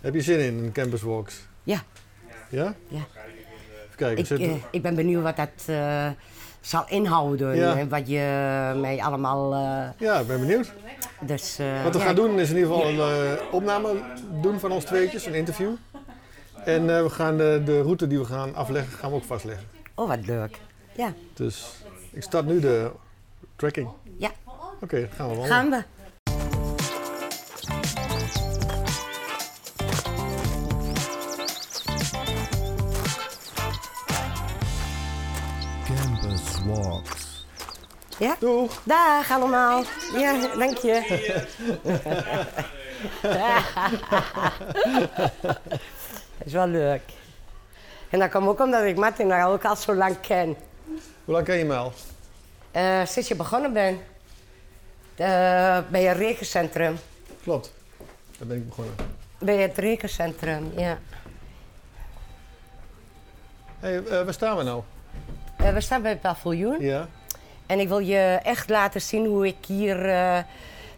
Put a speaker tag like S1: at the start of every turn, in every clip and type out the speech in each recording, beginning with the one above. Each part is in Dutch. S1: Heb je zin in, in campuswalks?
S2: Ja.
S1: Ja?
S2: Ja.
S1: Even kijken.
S2: Ik,
S1: zit-
S2: eh, ik ben benieuwd wat dat eh, zal inhouden
S1: Ja.
S2: en wat je mij allemaal... eh,
S1: ja, ik ben benieuwd.
S2: dus, eh,
S1: Wat we
S2: ja.
S1: gaan doen is in ieder geval een eh, opname doen van ons tweetjes, een interview. En eh, we gaan de, de route die we gaan afleggen, gaan we ook vastleggen.
S2: Oh, wat leuk. Ja,
S1: Dus ik start nu de tracking.
S2: Ja.
S1: Oké, gaan we wandelen.
S2: gaan we.
S3: Campus Walks.
S2: Ja?
S1: Doeg!
S2: Dag allemaal. Ja, dank je. Dat is wel leuk. En dat komt ook omdat ik Martin nou ook al zo lang ken.
S1: Hoe lang ken je mij al?
S2: Eh, sinds je begonnen bent eh, bij een rekencentrum.
S1: Klopt. Daar ben ik begonnen.
S2: Bij het rekencentrum, ja.
S1: hey, eh, waar staan we nou?
S2: Eh, we staan bij het paviljoen.
S1: Ja.
S2: En ik wil je echt laten zien hoe ik hier, eh,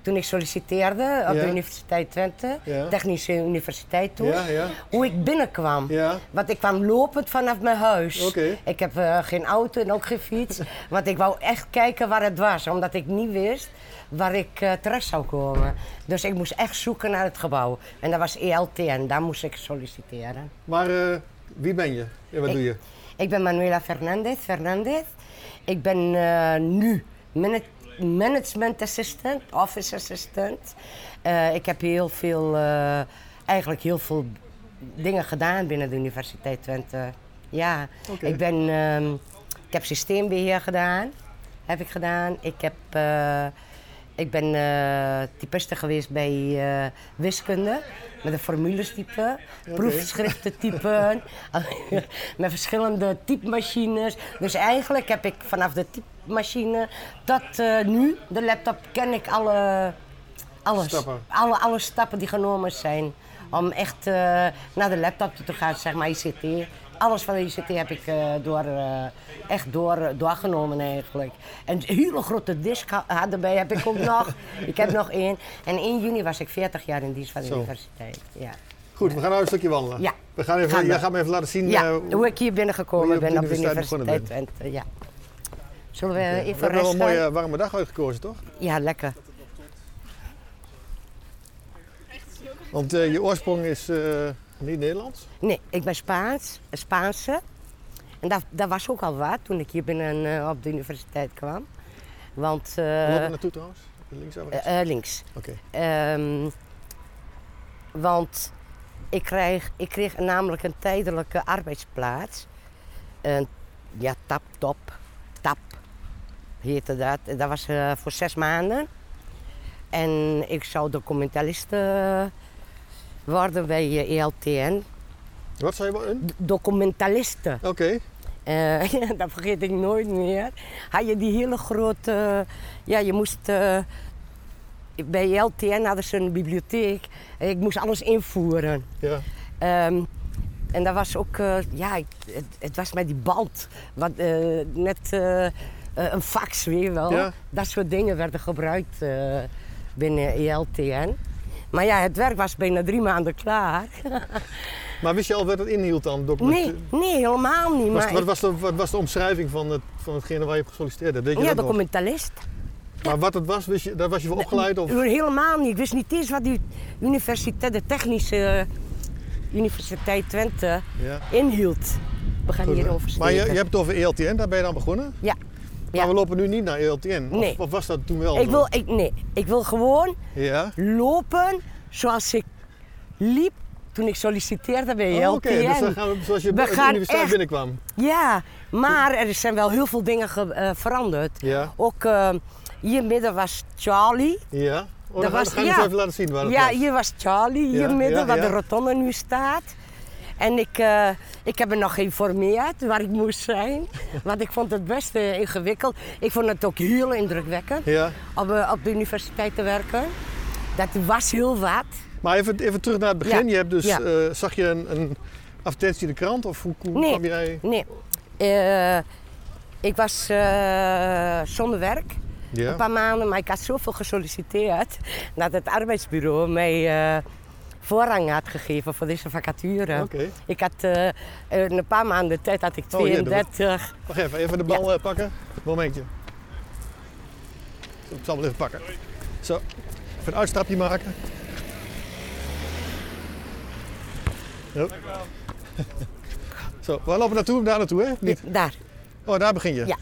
S2: toen ik solliciteerde op
S1: Ja.
S2: de Universiteit Twente,
S1: Ja.
S2: Technische Universiteit toen,
S1: Ja, ja.
S2: hoe ik binnenkwam.
S1: Ja.
S2: Want ik kwam lopend vanaf mijn huis.
S1: Oké.
S2: Ik heb eh, geen auto en ook geen fiets. want ik wou echt kijken waar het was, omdat ik niet wist waar ik eh, terecht zou komen. Dus ik moest echt zoeken naar het gebouw. En dat was ELT en daar moest ik solliciteren.
S1: Maar eh, wie ben je? En wat
S2: Ik-
S1: doe je?
S2: Ik ben Manuela Fernandez. Fernandez. Ik ben eh, nu mana- management assistant, office assistant. Eh, ik heb heel veel, eh, eigenlijk heel veel dingen gedaan binnen de Universiteit Twente. Ja,
S1: Oké.
S2: ik ben, ehm, ik heb systeembeheer gedaan, heb ik gedaan. Ik heb, eh, ik ben eh typiste geweest bij eh, wiskunde, met een formules type, proefschriften typen, met verschillende typemachines. Dus eigenlijk heb ik vanaf de typemachine tot eh, nu, de laptop, ken ik alle, alles,
S1: Stappen.
S2: Alle, alle stappen die genomen zijn om echt eh, naar de laptop toe te gaan, zeg maar ICT. Alles van de ICT heb ik eh, door, eh, echt door, eh, doorgenomen eigenlijk. En een hele grote disk ha- had erbij, heb ik ook nog. Ik heb nog één. En 1 juni was ik 40 jaar in dienst van de
S1: Zo.
S2: universiteit. Ja.
S1: Goed, we gaan nou een stukje wandelen.
S2: Ja.
S1: We gaan even,
S2: Gaan we.
S1: jij gaat me even laten zien.
S2: Ja,
S1: eh,
S2: hoe ik hier
S1: hoe je
S2: binnengekomen
S1: op de
S2: ben op de
S1: universiteit
S2: universiteit.
S1: begonnen
S2: Twente, ja. Zullen we eh,
S1: we
S2: even
S1: hebben wel een
S2: resten?
S1: mooie warme dag uitgekozen, toch?
S2: Ja, lekker.
S1: Want eh, je oorsprong is eh, niet Nederlands.
S2: Nee, ik ben Spaans, een Spaanse. En dat, dat was ook al waar toen ik hier binnen eh, op de universiteit kwam. Want
S1: Hoe
S2: eh,
S1: lopen we naartoe trouwens? Links of rechts?
S2: eh, eh, links.
S1: Oké.
S2: Ehm, want ik kreeg, ik kreeg namelijk een tijdelijke arbeidsplaats. Een, ja, tap, top, tap heette dat. En Dat was eh, voor zes maanden. En ik zou documentalist eh, worden bij eh, ELTN.
S1: Wat zei je? wel in?
S2: D- Documentaliste.
S1: Oké.
S2: Eh, ja, dat vergeet ik nooit meer. Had je die hele grote. eh, ja, je moest. eh, bij LTN hadden ze een bibliotheek. Ik moest alles invoeren.
S1: Ja.
S2: Ehm, en dat was ook, eh, ja, ik- het, het was met die band. Wat, eh, net eh, eh, een fax, weet je wel.
S1: Ja.
S2: Dat soort dingen werden gebruikt eh, binnen ELTN. Maar ja, het werk was bijna drie maanden klaar.
S1: Maar wist je al wat het inhield dan? document-
S2: Nee, nee helemaal niet.
S1: Was,
S2: maar
S1: wat,
S2: ik-
S1: was de, wat was de omschrijving van, het, van hetgene waar je op gesolliciteerd hebt? Weet je
S2: ja,
S1: dat nog?
S2: documentalist.
S1: Maar wat het was, wist je, daar was je voor opgeleid? Of...
S2: Helemaal niet. Ik wist niet eens wat die universiteit, de technische eh, universiteit Twente
S1: Ja.
S2: inhield. We gaan
S1: Goed,
S2: hierover
S1: maar je, je
S2: spreken.
S1: hebt het over E ELTN, daar ben je dan begonnen?
S2: Ja.
S1: Maar
S2: ja.
S1: we lopen nu niet naar E ELTN. Of- Of,
S2: Nee.
S1: was dat toen wel?
S2: Ik
S1: zo?
S2: wil, E ik, nee, ik wil gewoon
S1: Ja.
S2: lopen zoals ik liep toen ik solliciteerde bij
S1: Oh, Oké,
S2: LTN.
S1: dus dan gaan we zoals je
S2: We
S1: bij de
S2: gaan
S1: universiteit
S2: echt-
S1: binnenkwam.
S2: Ja, maar er zijn wel heel veel dingen ge- eh, veranderd.
S1: Ja.
S2: Ook eh, hier midden was Charlie.
S1: Ja. Oh, dan
S2: was-
S1: ga, ga je
S2: ja.
S1: eens even laten zien waar het
S2: Ja,
S1: was.
S2: hier was Charlie, hier
S1: Ja,
S2: midden,
S1: ja,
S2: waar
S1: ja.
S2: de rotonde nu staat. En ik, eh, ik heb me nog geïnformeerd waar ik moest zijn. Want ik vond het best eh, ingewikkeld. Ik vond het ook heel indrukwekkend
S1: Ja.
S2: om eh, op de universiteit te werken. Dat was heel wat.
S1: Maar even, even terug naar het begin.
S2: Ja,
S1: Je hebt dus,
S2: ja.
S1: eh, zag je een, een advertentie in de krant? Of hoe, hoe
S2: Nee.
S1: kwam jij...
S2: Nee, eh, ik was eh, zonder werk.
S1: Ja.
S2: Een paar maanden, maar ik had zoveel gesolliciteerd dat het arbeidsbureau mij eh, voorrang had gegeven voor deze vacature.
S1: Oké.
S2: Ik had eh, in een paar maanden tijd had ik
S1: Oh, hier,
S2: 32.
S1: Wacht even, even de bal eh, pakken. Momentje. Ik zal hem even pakken. Zo, even een uitstapje maken. Zo. Zo, waar lopen we naartoe? Daar naartoe, hè? Niet.
S2: daar.
S1: Oh, daar begin je.
S2: Ja.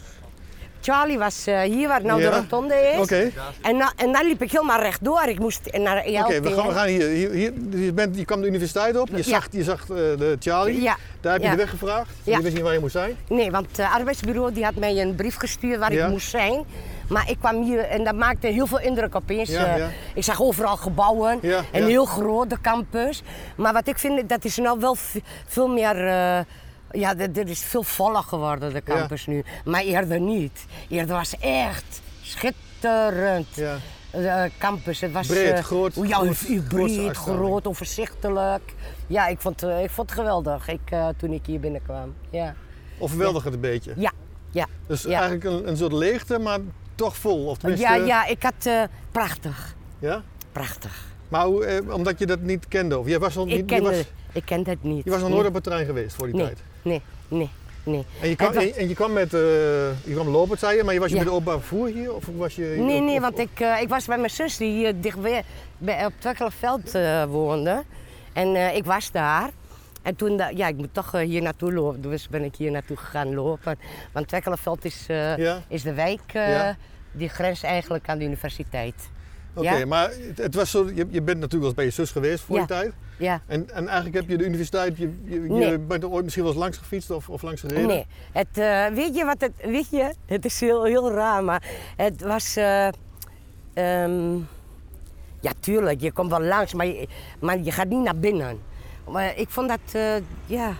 S2: Charlie was eh, hier waar nou de
S1: Ja.
S2: rotonde is.
S1: Oké,
S2: En, na- en dan liep ik helemaal rechtdoor. Ik moest naar ELT.
S1: Oké, we, gaan, we gaan hier. hier, hier dus je, bent, je kwam de universiteit op, je
S2: Ja.
S1: zag, je zag eh, de Charlie.
S2: Ja.
S1: Daar heb je
S2: Ja.
S1: de weg gevraagd.
S2: Ja.
S1: Je wist niet waar je moest zijn.
S2: Nee, want het arbeidsbureau die had mij een brief gestuurd waar
S1: Ja.
S2: ik moest zijn. Maar ik kwam hier en dat maakte heel veel indruk opeens.
S1: Ja,
S2: Eh,
S1: ja.
S2: Ik zag overal gebouwen,
S1: Ja,
S2: een
S1: ja.
S2: heel grote campus. Maar wat ik vind, dat is nou wel v- veel meer... eh, ja, d- er is veel voller geworden, de campus nu. Maar eerder niet. Eerder was echt schitterend.
S1: Ja.
S2: eh, campus. Het was
S1: Breed,
S2: eh,
S1: groot,
S2: hoe- Ja,
S1: groot, grootste
S2: breed,
S1: uitstraling.
S2: groot, overzichtelijk. Ja, ik vond, eh, ik vond het geweldig ik, eh, toen ik hier binnenkwam. Ja.
S1: Overweldig het een beetje.
S2: Ja, ja.
S1: Dus
S2: ja.
S1: eigenlijk een, een soort leegte, maar toch vol. Of tenminste,
S2: ja, ja, ik had eh, prachtig.
S1: ja?
S2: Prachtig.
S1: Maar hoe, eh, omdat je dat niet kende? Of je was nog,
S2: Ik
S1: niet,
S2: ken,
S1: je was,
S2: het- ik ken dat niet.
S1: je was nog
S2: Nee,
S1: nooit op een trein geweest voor die
S2: nee,
S1: tijd.
S2: nee, nee, nee.
S1: En je, kwam,
S2: Het was-
S1: en, en je kwam met, eh, je kwam lopend, zei je, maar je was je
S2: Ja.
S1: met de openbaar vervoer hier? Of was je,
S2: Nee,
S1: of-
S2: nee,
S1: of-
S2: want ik, eh, ik was bij mijn zus die hier dicht bij, bij- op Twekkelenveld eh, woonde. En eh, ik was daar. En toen, da- ja, ik moet toch eh, hier naartoe lopen. Dus ben ik hier naartoe gegaan lopen. Want Twekkelenveld is, eh,
S1: Ja.
S2: is de wijk eh,
S1: Ja.
S2: die grenst eigenlijk aan de universiteit.
S1: Oké,
S2: ja.
S1: maar het, het was zo, je, je bent natuurlijk wel eens bij je zus geweest voor
S2: Ja.
S1: die tijd.
S2: Ja.
S1: En, en eigenlijk heb je de universiteit, je, je, je
S2: Nee.
S1: bent er ooit misschien wel eens langs gefietst of, of langs gereden.
S2: Nee, het, eh, weet je wat het, weet je, het is heel, heel raar, maar het was, eh, ehm, ja tuurlijk, je komt wel langs, maar je, maar je gaat niet naar binnen. Maar ik vond dat, eh, ja,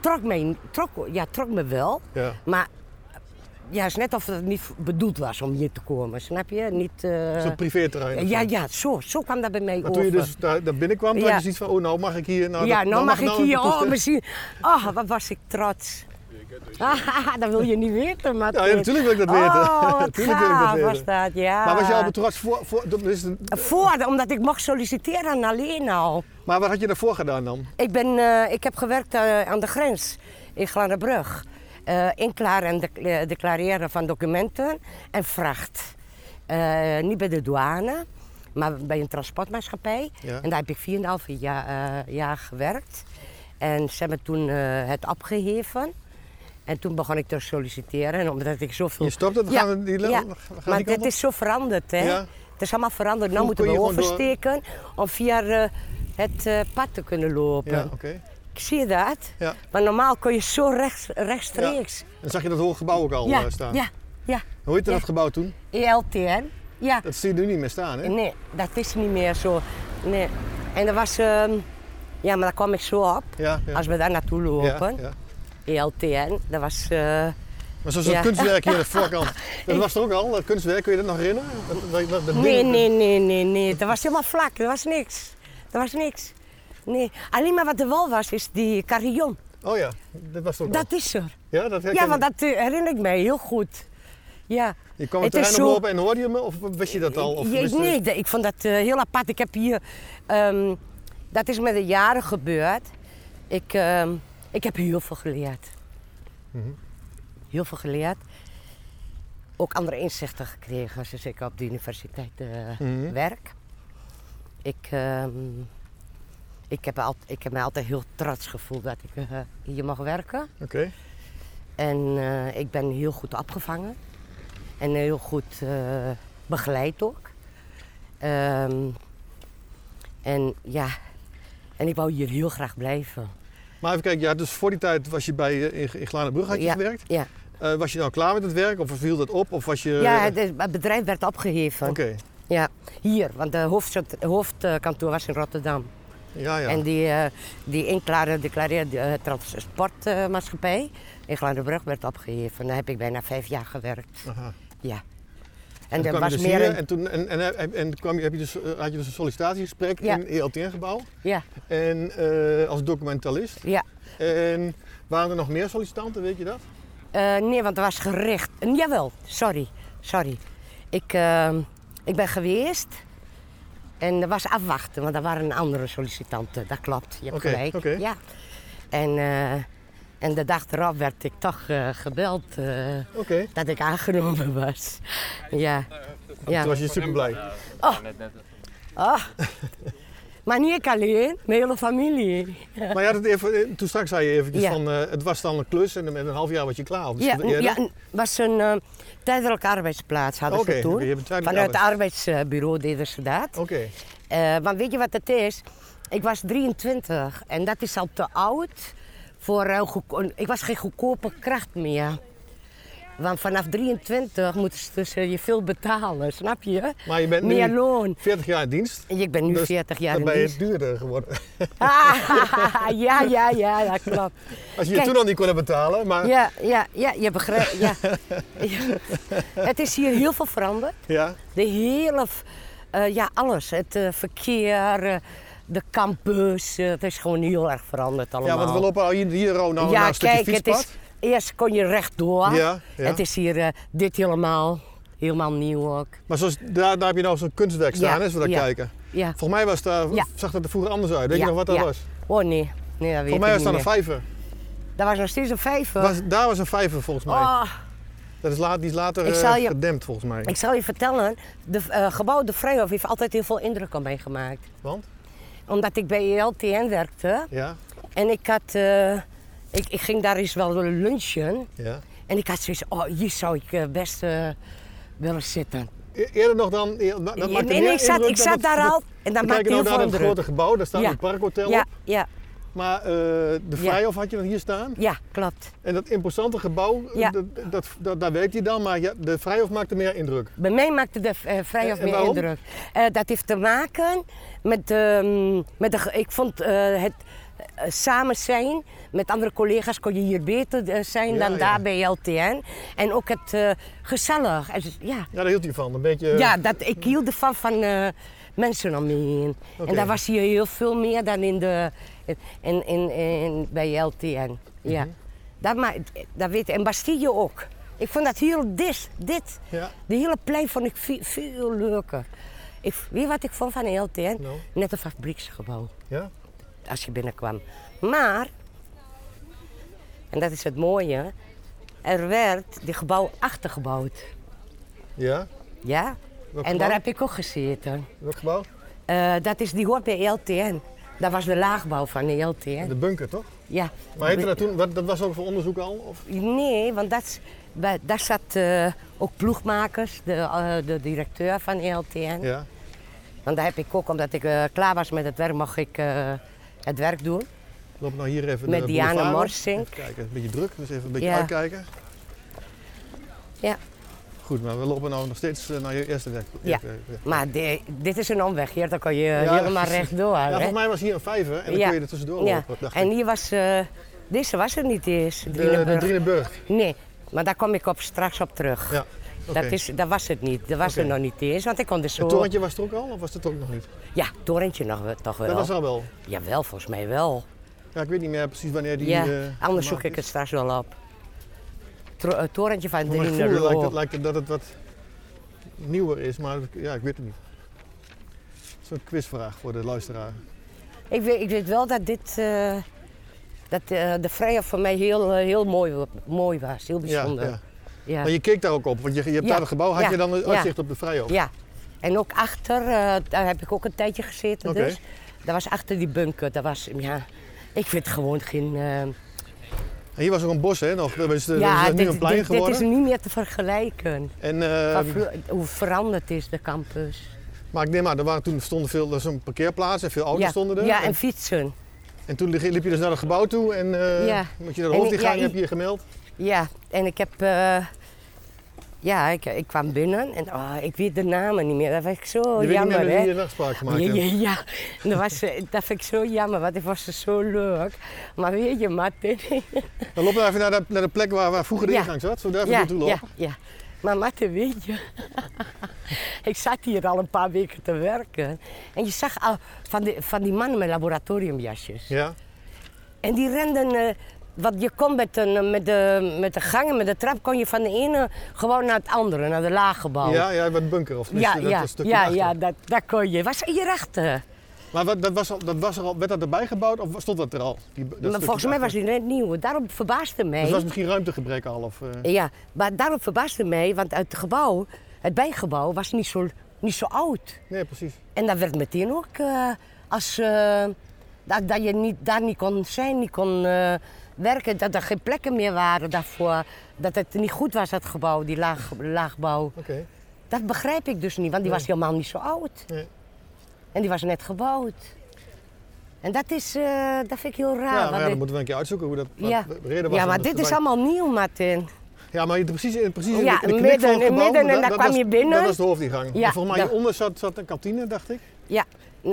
S2: trok me, trok, ja, trok me wel,
S1: Ja.
S2: maar ja, het is net of het niet bedoeld was om hier te komen, snap je? Niet, eh,
S1: Zo'n privéterrein. of
S2: ja,
S1: zo.
S2: ja, zo, zo kwam dat bij mij
S1: Maar
S2: over.
S1: toen je dus daar, daar binnenkwam, toen
S2: Ja.
S1: had je zoiets van, oh nou mag ik hier. Nou,
S2: ja,
S1: dat-
S2: nou, mag ik
S1: nou
S2: hier.
S1: naartoe
S2: Oh,
S1: staan.
S2: misschien. Oh, wat was ik trots. Ah, dat wil je niet weten, maar.
S1: Ja, ja, natuurlijk wil ik dat weten.
S2: Oh, wat
S1: Natuurlijk wil ik dat
S2: gaaf
S1: weten.
S2: was dat, ja.
S1: Maar was je al betrokken voor, voor, dat is een-
S2: Voor, omdat ik mocht solliciteren aan alleen al.
S1: maar wat had je daarvoor gedaan dan?
S2: Ik, ben, eh, ik heb gewerkt eh, aan de grens in Glanenbrug. Eh inklaren en dec- eh, declareren van documenten en vracht. Eh, niet bij de douane, maar bij een transportmaatschappij.
S1: Ja.
S2: En daar heb ik 4,5 jaar, eh, jaar gewerkt. En ze hebben toen eh, het opgeheven. En toen begon ik te solliciteren. En omdat ik zoveel...
S1: Je stopt het, we
S2: Ja,
S1: gaan die,
S2: ja.
S1: gaan die
S2: maar
S1: kant
S2: het
S1: op?
S2: is zo veranderd, hè?
S1: Ja.
S2: Het is allemaal veranderd. Nu
S1: Toen
S2: moeten
S1: kon
S2: we
S1: je gewoon door-
S2: oversteken om via eh, het eh, pad te kunnen lopen.
S1: Ja, oké.
S2: Ik zie dat.
S1: Ja.
S2: Maar normaal kon je zo rechts, rechtstreeks.
S1: En zag je dat hoge gebouw ook al eh, staan?
S2: ja, ja. E
S1: Hoe heette
S2: Ja.
S1: dat gebouw toen?
S2: ELTN. Ja.
S1: Dat zie je nu niet meer staan, hè?
S2: Nee, dat is niet meer zo. Nee. En dat was... ehm, ja, maar daar kwam ik zo op.
S1: Ja, ja.
S2: Als we daar naartoe
S1: ja,
S2: lopen. E
S1: ja.
S2: ELTN, dat was... eh,
S1: Maar zoals dat
S2: Ja.
S1: kunstwerk hier aan de voorkant. Dat was er ook al, dat kunstwerk. Kun je dat nog herinneren? Dat, dat, dat, dat
S2: Nee,
S1: ding-
S2: nee, nee, nee, nee. Dat was helemaal vlak. Dat was niks. Dat was niks. Nee. Alleen maar wat er wel was, is die carillon.
S1: Oh ja, dat was er ook
S2: Dat is er.
S1: al. Ja, dat herken
S2: Ja,
S1: je.
S2: want dat eh, herinner ik mij heel goed. Ja.
S1: Je kwam het
S2: is
S1: terrein
S2: zo-
S1: oplopen en hoorde je me? Of wist je dat al? Of
S2: Ja,
S1: wist je-
S2: nee, ik, ik vond dat eh, heel apart. Ik heb hier... ehm, dat is met de jaren gebeurd. Ik, ehm, ik heb heel veel geleerd. Heel veel geleerd. Ook andere inzichten gekregen sinds ik op de universiteit eh,
S1: Mhm.
S2: werk. Ik, ehm, ik, heb al, ik heb me altijd heel trots gevoeld dat ik eh, hier mag werken.
S1: Oké.
S2: En eh, ik ben heel goed opgevangen. En heel goed eh, begeleid ook. Ehm, en ja, en ik wou hier heel graag blijven.
S1: Maar even kijken, ja, dus voor die tijd was je bij, eh, in, in Glanenbrug had je
S2: ja,
S1: gewerkt.
S2: Ja,
S1: Eh, was je nou klaar met het werk of viel dat op? Of was je...
S2: ja het, het bedrijf werd opgeheven.
S1: Oké,
S2: Ja, hier, want de hoofdcent- hoofdkantoor was in Rotterdam.
S1: ja, ja.
S2: En die, eh, die inklaren declareerde eh, transportmaatschappij in Glanenbrug werd opgeheven. Daar heb ik bijna vijf jaar gewerkt.
S1: Aha.
S2: Ja.
S1: En
S2: En,
S1: toen
S2: er
S1: kwam
S2: was
S1: je dus
S2: meer
S1: hier
S2: een-
S1: en toen en, en, en, en kwam je, heb je dus, eh, had je dus een sollicitatiegesprek
S2: Ja.
S1: in het ELTN-gebouw
S2: Ja,
S1: en eh, als documentalist.
S2: ja.
S1: En waren er nog meer sollicitanten, weet je dat?
S2: Eh, nee, want het was gericht. Eh, jawel, sorry. Sorry. Ik, ehm, ik ben geweest En dat was afwachten, want er waren andere sollicitanten. Dat klopt, je hebt
S1: Oké,
S2: gelijk.
S1: oké.
S2: Ja. En, eh, en de dag erop werd ik toch eh, gebeld eh,
S1: Oké.
S2: dat ik aangenomen was. ja.
S1: Oh, Toen
S2: ja.
S1: was je super blij.
S2: Oh. maar niet ik alleen, mijn hele familie.
S1: Maar je had het even, eh, toen straks zei je eventjes
S2: Ja.
S1: van, eh, het was dan een klus en met een half jaar was je klaar. Of is
S2: Ja,
S1: dat
S2: ja,
S1: eerder?
S2: het was een eh, tijdelijke arbeidsplaats hadden
S1: Oké,
S2: ze toen.
S1: oké, je hebt een tijdelijke
S2: Vanuit het arbeidsbureau deden ze dat.
S1: Oké.
S2: Eh, want weet je wat het is? Ik was 23 en dat is al te oud voor heel goedko- Ik was geen goedkope kracht meer. Want vanaf 23 moeten ze dus, eh, je veel betalen, snap je?
S1: Maar je bent nu
S2: meer loon.
S1: 40 jaar in dienst.
S2: Ik ben nu
S1: Dus
S2: 40 jaar
S1: Dan
S2: in
S1: ben je
S2: dienst. Ah,
S1: duurder geworden.
S2: ja, ja, ja, dat klopt.
S1: Als je je
S2: Kijk.
S1: toen al niet kon betalen, maar ja.
S2: Ja, ja, ja, je begrijpt. Ja. Ja. Het is hier heel veel veranderd. De hele, v- eh, ja, alles. Het eh, verkeer, eh, de campus. eh, het is gewoon heel erg veranderd allemaal.
S1: Ja, want we lopen al hier, hier al nou naar een stukje
S2: het
S1: fietspad.
S2: is, eerst kon je rechtdoor.
S1: Ja, ja.
S2: Het is hier eh, dit helemaal, helemaal nieuw ook.
S1: Maar zoals, daar, daar heb je nou zo'n kunstwerk
S2: Ja,
S1: staan, hè, als we daar
S2: ja.
S1: kijken.
S2: Ja.
S1: Volgens mij was daar,
S2: Ja.
S1: zag dat er vroeger anders uit. Weet
S2: Ja,
S1: je nog wat dat
S2: ja.
S1: was?
S2: Oh nee, nee dat weet
S1: Volgens mij was
S2: ik niet
S1: daar een
S2: meer.
S1: vijver.
S2: Dat was nog steeds een vijver.
S1: Was, daar was een vijver volgens mij.
S2: Oh,
S1: Dat is laat, die is later
S2: Ik
S1: eh,
S2: zal je-
S1: gedempt volgens mij.
S2: ik zal je vertellen, de eh, gebouw De Vrijhof heeft altijd heel veel indruk op mij gemaakt.
S1: Want?
S2: Omdat ik bij E LTN werkte
S1: Ja,
S2: en ik had, eh, ik, ik ging daar eens wel lunchen.
S1: ja.
S2: En ik had zoiets, oh hier zou ik eh, best eh, willen zitten.
S1: E- Eerder nog dan, eer- dat maakte
S2: en, en
S1: meer
S2: ik zat,
S1: indruk
S2: ik
S1: dan
S2: zat
S1: het-
S2: daar
S1: dat-
S2: al en dat
S1: we
S2: maakte
S1: kijken
S2: heel
S1: nou
S2: veel
S1: naar dat
S2: indruk.
S1: grote gebouw, daar staat
S2: Ja.
S1: een parkhotel
S2: Ja,
S1: op.
S2: ja,
S1: Maar eh, de
S2: Ja.
S1: Vrijhof had je dan hier staan.
S2: ja, klopt.
S1: En dat imposante gebouw, eh,
S2: Ja.
S1: dat, dat, dat- daar werkt hij dan, maar ja, de Vrijhof maakte meer indruk.
S2: Bij mij maakte de eh, vrijhof
S1: En
S2: meer
S1: waarom?
S2: indruk. Eh, dat heeft te maken met, ehm, met de, ge- ik vond eh, het eh, samen zijn met andere collega's kon je hier beter eh, zijn
S1: Ja,
S2: dan
S1: ja.
S2: daar bij LTN. En ook het eh, gezellig. En dus- ja,
S1: Ja, daar hield hij van. Een beetje.
S2: ja dat, ik hield ervan van eh, mensen om me heen.
S1: Oké.
S2: En daar was hier heel veel meer dan in de, in, in, in, bij LTN. Ja.
S1: Mhm.
S2: dat, ma- dat weet En Bastille ook. Ik vond dat heel dis, dit.
S1: Ja.
S2: De hele plein vond ik veel, veel leuker. Ik, weet je wat ik vond van LTN?
S1: Nou.
S2: Net een fabrieksgebouw,
S1: Ja?
S2: als je binnenkwam. Maar, en dat is het mooie, er werd die gebouw achtergebouwd.
S1: Ja?
S2: Ja? En daar
S1: gebouw?
S2: heb ik ook gezeten.
S1: Welk gebouw?
S2: Eh, dat is, die hoort bij LTN. Dat was de laagbouw van E de LTN.
S1: De bunker, toch?
S2: Ja.
S1: Maar heette dat toen, wat- dat was ook voor onderzoek al? Of?
S2: Nee, want dat, is- bij- daar zat eh, ook ploegmakers, de, eh, de directeur van E ELTN.
S1: Ja.
S2: Want daar heb ik ook, omdat ik eh, klaar was met het werk, mocht ik eh, het werk doen.
S1: Loop nou hier even
S2: Met
S1: de
S2: Diana
S1: boulevard op.
S2: Morsink.
S1: Even kijken, het is een beetje druk, dus even een beetje
S2: Ja.
S1: uitkijken.
S2: Ja.
S1: Goed, maar we lopen nou nog steeds eh, naar je eerste werk.
S2: Ja.
S1: werk- werk.
S2: Maar di- dit is een omweg hier, dan kan je eh,
S1: Ja.
S2: helemaal rechtdoor.
S1: Ja,
S2: hè?
S1: volgens mij was hier een vijver en dan
S2: Ja.
S1: kun je er tussendoor
S2: Ja.
S1: lopen, dacht
S2: En
S1: ik.
S2: hier was, eh, deze was er niet eens,
S1: De, de
S2: Drielenburg.
S1: Drielenburg.
S2: Nee, maar daar kom ik op, straks op terug.
S1: Ja. Oké.
S2: Dat, is, dat was het niet, dat was
S1: Oké.
S2: er nog niet eens, want ik kon er zo...
S1: Het torentje was er ook al, of was het ook nog niet?
S2: Ja, torentje nog, wel- toch wel.
S1: Dat was al wel.
S2: Jawel, volgens mij wel.
S1: Ja, ik weet niet meer precies wanneer die... eh,
S2: ja, anders
S1: gemaakt
S2: zoek ik
S1: is.
S2: het straks wel op. Tro- eh, torentje van
S1: Voor mijn gevoel lijkt het,
S2: Drielenburg.
S1: lijkt het dat het wat nieuwer is, maar ja, ik weet het niet. Zo'n quizvraag voor de luisteraar.
S2: Ik weet, ik weet wel dat dit... eh, dat eh, de vrijheid voor mij heel, eh, heel mooi, wa- mooi was, heel bijzonder. Ja, ja.
S1: Maar je keek daar ook op, want je, je hebt
S2: Ja,
S1: daar een gebouw, had
S2: ja,
S1: je dan een
S2: ja.
S1: uitzicht op de Vrijhof?
S2: En ook achter, eh, daar heb ik ook een tijdje gezeten
S1: Oké.
S2: dus. Dat was achter die bunker, dat was, ja... Ik vind gewoon geen... eh,
S1: En hier was ook een bos, hè? Nog, er is, er
S2: ja,
S1: is nu
S2: dit,
S1: een plein
S2: dit, dit
S1: geworden.
S2: is niet meer te vergelijken.
S1: En, eh,
S2: Van vro- hoe veranderd is de campus.
S1: maar ik neem aan, er waren toen stonden veel, er was een parkeerplaats en veel auto's
S2: ja,
S1: stonden er.
S2: Ja, en
S1: en,
S2: fietsen.
S1: en toen liep je dus naar het gebouw toe en eh,
S2: Ja.
S1: moet je naar de
S2: En
S1: hoofdingang,
S2: ik- Oh, ja,
S1: heb je je gemeld.
S2: Ja, en ik heb. eh, ja, ik, ik kwam binnen en ah, ik weet de namen niet meer. Dat vind ik zo
S1: je weet niet
S2: jammer,
S1: meer met wie je
S2: hè?
S1: een afspraak
S2: Ja,
S1: gemaakt hebt.
S2: ja, ja. Dat, was, eh, dat vind ik zo jammer, want het was dus zo leuk. Maar weet je, Martin.
S1: Dan lopen we even naar de, naar de plek waar, waar vroeger de
S2: Ja.
S1: ingang zat. Zullen we daar even
S2: ja,
S1: naartoe
S2: ja,
S1: lopen?
S2: ja. Maar Martin, weet je. ik zat hier al een paar weken te werken. En je zag al van die, van die mannen met laboratoriumjasjes.
S1: Ja.
S2: En die renden eh, Want je komt met, een, eh, met, de, met de gangen, met de trap, kon je van de ene gewoon naar het andere, naar de laaggebouw.
S1: Ja, ja, bij de bunker of
S2: ja,
S1: tenminste, dat
S2: ja,
S1: was een stukje
S2: ja,
S1: achter.
S2: ja, dat, dat kon je. Was hierachter.
S1: Maar wat, dat was al, dat was er al, werd dat erbij gebouwd of stond dat er al? Die, dat
S2: maar
S1: stukje
S2: volgens mij was
S1: achter?
S2: die net nieuw. Daarom verbaasde mij.
S1: Dus was misschien ruimtegebrek al of... eh,
S2: Ja, maar daarom verbaasde mij, want het gebouw, het bijgebouw, was niet zo, niet zo oud.
S1: nee, precies.
S2: En dat werd meteen ook eh, als eh, dat, dat je niet, daar niet kon zijn, niet kon eh, werken, dat er geen plekken meer waren daarvoor. Dat het niet goed was, dat gebouw, die laag, laagbouw.
S1: Oké.
S2: Dat begrijp ik dus niet, want die was helemaal niet zo oud.
S1: Nee.
S2: En die was net gebouwd. En dat is, eh, dat vind ik heel raar.
S1: Ja, maar
S2: want
S1: ja, dan
S2: dit-
S1: moeten we een keer uitzoeken hoe dat wat
S2: ja.
S1: de reden was.
S2: ja,
S1: om
S2: maar
S1: dat
S2: dit
S1: erbij-
S2: is allemaal nieuw, Martin.
S1: Ja, maar je- precies, in- precies in
S2: Ja,
S1: de, in de knik
S2: midden-
S1: van het
S2: in
S1: gebouw,
S2: midden en
S1: dat-
S2: daar
S1: dat
S2: kwam
S1: was-
S2: je binnen.
S1: Dat was de hoofdingang.
S2: Ja,
S1: En volgens mij
S2: daar-
S1: hieronder zat, zat een kantine, dacht ik.
S2: Ja.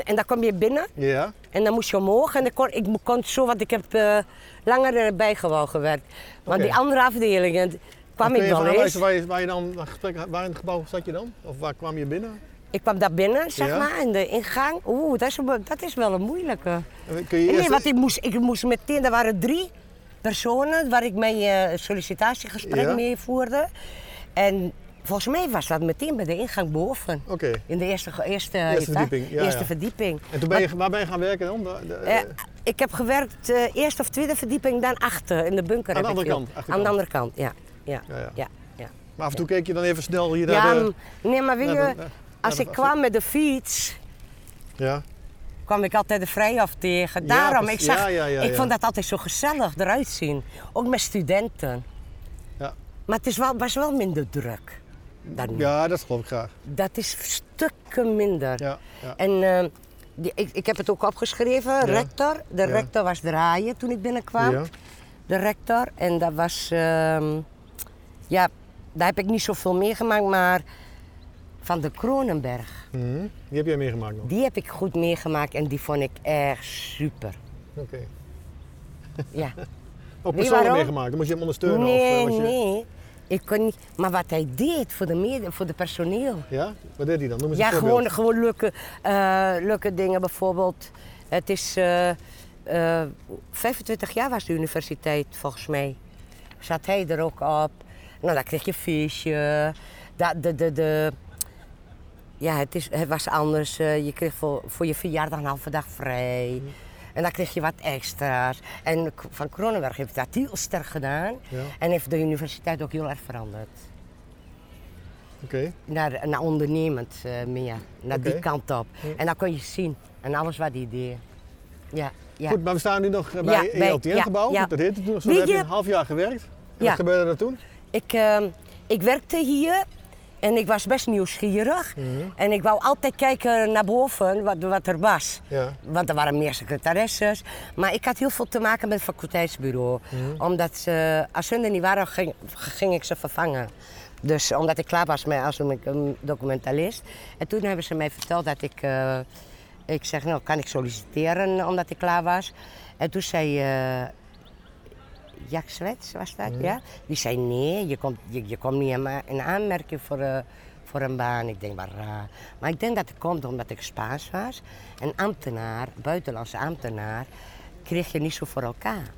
S2: En dan kom je binnen
S1: Ja.
S2: En dan moest je omhoog en dan kon, ik kon zo, want ik heb eh, langer erbij gewoon gewerkt. Maar
S1: Oké.
S2: die andere afdelingen d- kwam
S1: Kun je
S2: ik
S1: even
S2: wel eens.
S1: aanwijzen waar je, waar je dan een gesprek had- waar in het gebouw zat je dan? Of waar kwam je binnen?
S2: Ik kwam daar binnen, zeg
S1: Ja.
S2: maar, in de ingang. Oeh, dat is, een- dat is wel een moeilijke.
S1: En Kun je
S2: nee,
S1: eerst,
S2: want ik moest, ik moest meteen, er waren drie personen waar ik mee eh, sollicitatiegesprek
S1: Ja.
S2: mee voerde. En volgens mij was dat meteen bij de ingang boven.
S1: Oké.
S2: In de eerste, ge- eerste,
S1: Eerste
S2: etage,
S1: verdieping, ja,
S2: eerste
S1: ja.
S2: verdieping.
S1: En toen ben je, waar ben je gaan werken dan? De- de-
S2: Eh, ik heb gewerkt eh eerste of tweede verdieping, dan achter in de bunker.
S1: Aan de
S2: heb ik
S1: andere
S2: veel.
S1: kant, achterkant.
S2: Aan de andere kant, ja. Ja,
S1: Ja,
S2: ja.
S1: ja.
S2: ja. ja,
S1: maar af en toe keek je dan even snel hier
S2: Ja,
S1: naar de...
S2: m- nee, maar weet
S1: naar
S2: je,
S1: de- naar
S2: als
S1: de-
S2: ik kwam met de fiets,
S1: Ja,
S2: kwam ik altijd de Vrijhof tegen.
S1: Ja,
S2: Daarom, ik
S1: precies.
S2: zag,
S1: Ja, ja, ja,
S2: ik
S1: ja.
S2: vond dat altijd zo gezellig eruit zien. Ook met studenten.
S1: ja.
S2: Maar het is wel, was wel minder druk. Dan,
S1: ja, dat geloof ik graag.
S2: Dat is stukken minder.
S1: Ja, ja.
S2: En eh, die, ik, ik heb het ook opgeschreven, rector. De
S1: Ja.
S2: rector was draaien toen ik binnenkwam.
S1: Ja.
S2: De rector. En dat was... ehm, ja, daar heb ik niet zoveel meegemaakt, maar... Van de Kronenberg.
S1: Mhm. Die heb jij meegemaakt nog?
S2: Die heb ik goed meegemaakt en die vond ik echt super.
S1: Oké.
S2: Ja.
S1: Ook
S2: Wie,
S1: persoonlijk
S2: waarom?
S1: meegemaakt? Dan moest je hem ondersteunen?
S2: nee,
S1: of, eh, was je-
S2: nee. Ik kon niet... Maar wat hij deed voor de, mede, voor de personeel...
S1: Ja? Wat deed hij dan? Noem eens
S2: Ja,
S1: een voorbeeld.
S2: gewoon, gewoon leuke, eh, leuke dingen. Bijvoorbeeld, het is eh, eh, 25 jaar was de universiteit volgens mij. Zat hij er ook op. Nou, daar kreeg je feestje. Dat, de, de, de, ja, het, is, het was anders. Eh, je kreeg voor, voor je verjaardag een halve dag vrij. En dan kreeg je wat extra's. En K- Van Kronenberg heeft dat heel sterk gedaan.
S1: Ja.
S2: En heeft de universiteit ook heel erg veranderd
S1: Oké.
S2: naar, naar ondernemend eh, meer. Naar
S1: Oké.
S2: die kant op. En dan kon je zien. En alles wat die deed. Ja, ja.
S1: Goed, maar we staan nu nog eh,
S2: Ja,
S1: bij
S2: bij-
S1: het ELTN-gebouw.
S2: ja, ja.
S1: Dat heette toen nog zo.
S2: Weet
S1: Daar heb je
S2: je-
S1: een half jaar gewerkt. En
S2: Ja.
S1: wat gebeurde er toen?
S2: Ik, ehm, ik werkte hier en ik was best nieuwsgierig. En ik wou altijd kijken naar boven wat, wat er was.
S1: Ja.
S2: Want er waren meer secretaresses. Maar ik had heel veel te maken met het faculteitsbureau. Omdat ze, als hun er niet waren, ging, ging ik ze vervangen. Dus omdat ik klaar was met, als een een documentalist. En toen hebben ze mij verteld dat ik... eh, ik zeg, nou, kan ik solliciteren omdat ik klaar was? En toen zei... eh, Jack Swets was dat, ja. Die zei, nee, je komt, je, je komt niet in, ma- in aanmerking voor, eh, voor een baan. Ik denk, maar raar. Maar ik denk dat het komt omdat ik Spaans was. En ambtenaar, buitenlandse ambtenaar, kreeg je niet zo voor elkaar.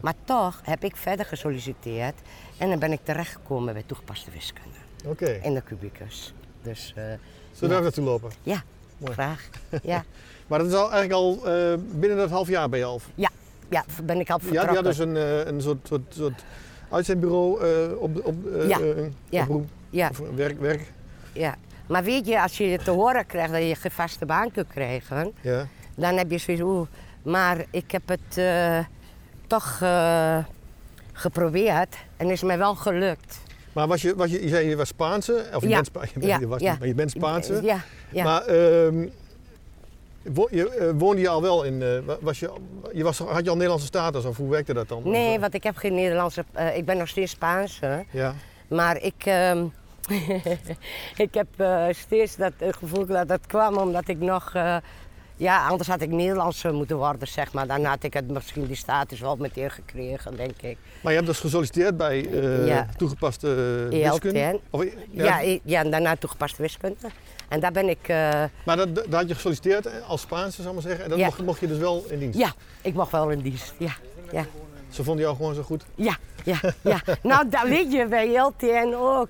S2: Maar toch heb ik verder gesolliciteerd en dan ben ik terechtgekomen bij toegepaste wiskunde.
S1: Oké.
S2: In de kubicus. Dus eh,
S1: Zullen we daar naartoe lopen?
S2: ja,
S1: Mooi.
S2: graag. Ja,
S1: Maar dat is al, eigenlijk al eh, binnen dat half jaar ben je al.
S2: ja, ja, ben ik al
S1: Je had,
S2: vertrokken.
S1: je had dus een, eh, een soort, soort, soort uitzendbureau eh, op, op, eh,
S2: Ja,
S1: eh,
S2: ja,
S1: oproep.
S2: ja.
S1: Of werk, werk.
S2: Ja, maar weet je, als je te horen krijgt dat je geen vaste baan kunt krijgen,
S1: Ja.
S2: dan heb je zoiets, oeh, maar ik heb het eh, toch eh, geprobeerd en is mij wel gelukt.
S1: Maar was je, was je, je zei je was Spaanse, of je
S2: Ja,
S1: bent Spa- je bent-
S2: ja,
S1: je was
S2: ja.
S1: niet, maar je bent Spaanse.
S2: Ja, ja.
S1: Maar ehm, wo- je, eh, woonde je al wel in, eh, wa- was je, je was, had je al Nederlandse status of hoe werkte dat dan?
S2: nee,
S1: Of,
S2: want ik heb geen Nederlandse, eh, ik ben nog steeds Spaanse,
S1: eh, Ja,
S2: maar ik, ehm, ik heb eh, steeds dat eh, gevoel dat dat kwam omdat ik nog... eh, ja, anders had ik Nederlands eh, moeten worden, zeg maar. Dan had ik het misschien die status wel meteen gekregen, denk ik.
S1: maar je hebt dus gesolliciteerd bij eh,
S2: Ja.
S1: toegepaste
S2: ELTN.
S1: wiskunde? Of, eh, ja.
S2: Ja, i- ja en daarna toegepaste wiskunde. En daar ben ik, eh,
S1: Maar dat, dat had je eh, gesolliciteerd als Spaanse, zou ik maar zeggen. En dat
S2: Ja.
S1: mocht, mocht je dus wel in dienst?
S2: ja, ik mag wel in dienst. Ja, ja,
S1: Ze vonden jou gewoon zo goed.
S2: Ja, ja, ja. nou, dat weet je bij LTN ook.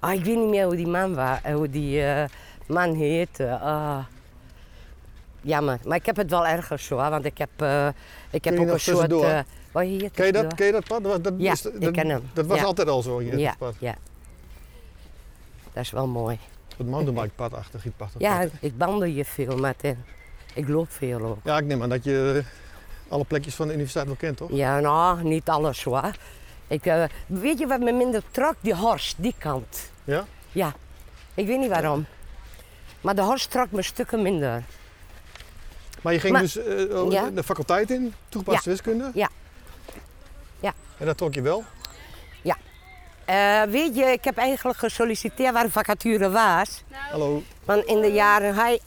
S2: Ah, ik weet niet meer hoe die man, wa- eh, hoe die, eh, man heette. Ah. Jammer, maar ik heb het wel ergens hoor, want ik heb, eh, ik
S1: Kun
S2: heb
S1: je
S2: ook
S1: nog
S2: een soort...
S1: tussendoor?
S2: eh, wat heet
S1: Ken je dat,
S2: het,
S1: ken je dat pad? Dat, dat,
S2: Ja,
S1: is- dat,
S2: ik ken hem.
S1: dat was
S2: Ja.
S1: altijd al zo hier,
S2: Ja,
S1: dat pad.
S2: ja. Dat is wel mooi.
S1: Dat mountainbike achter Gietpachtig.
S2: Ja, ik bandel je veel, Martin. Ik loop veel ook.
S1: ja, ik neem aan dat je eh, alle plekjes van de universiteit wel kent, toch?
S2: Ja, nou, niet alles hoor. Ik, eh, weet je wat me minder trok? Die horst, die kant.
S1: Ja?
S2: Ja, ik weet niet waarom. Maar de horst trok me stukken minder.
S1: Maar je ging
S2: Maar-
S1: dus eh, oh,
S2: Ja.
S1: de faculteit in, toegepaste wiskunde?
S2: Ja. Ja.
S1: En dat trok je wel?
S2: Eh, weet je, ik heb eigenlijk gesolliciteerd waar een vacature was.
S1: Hallo.
S2: Want in de jaren... Hi.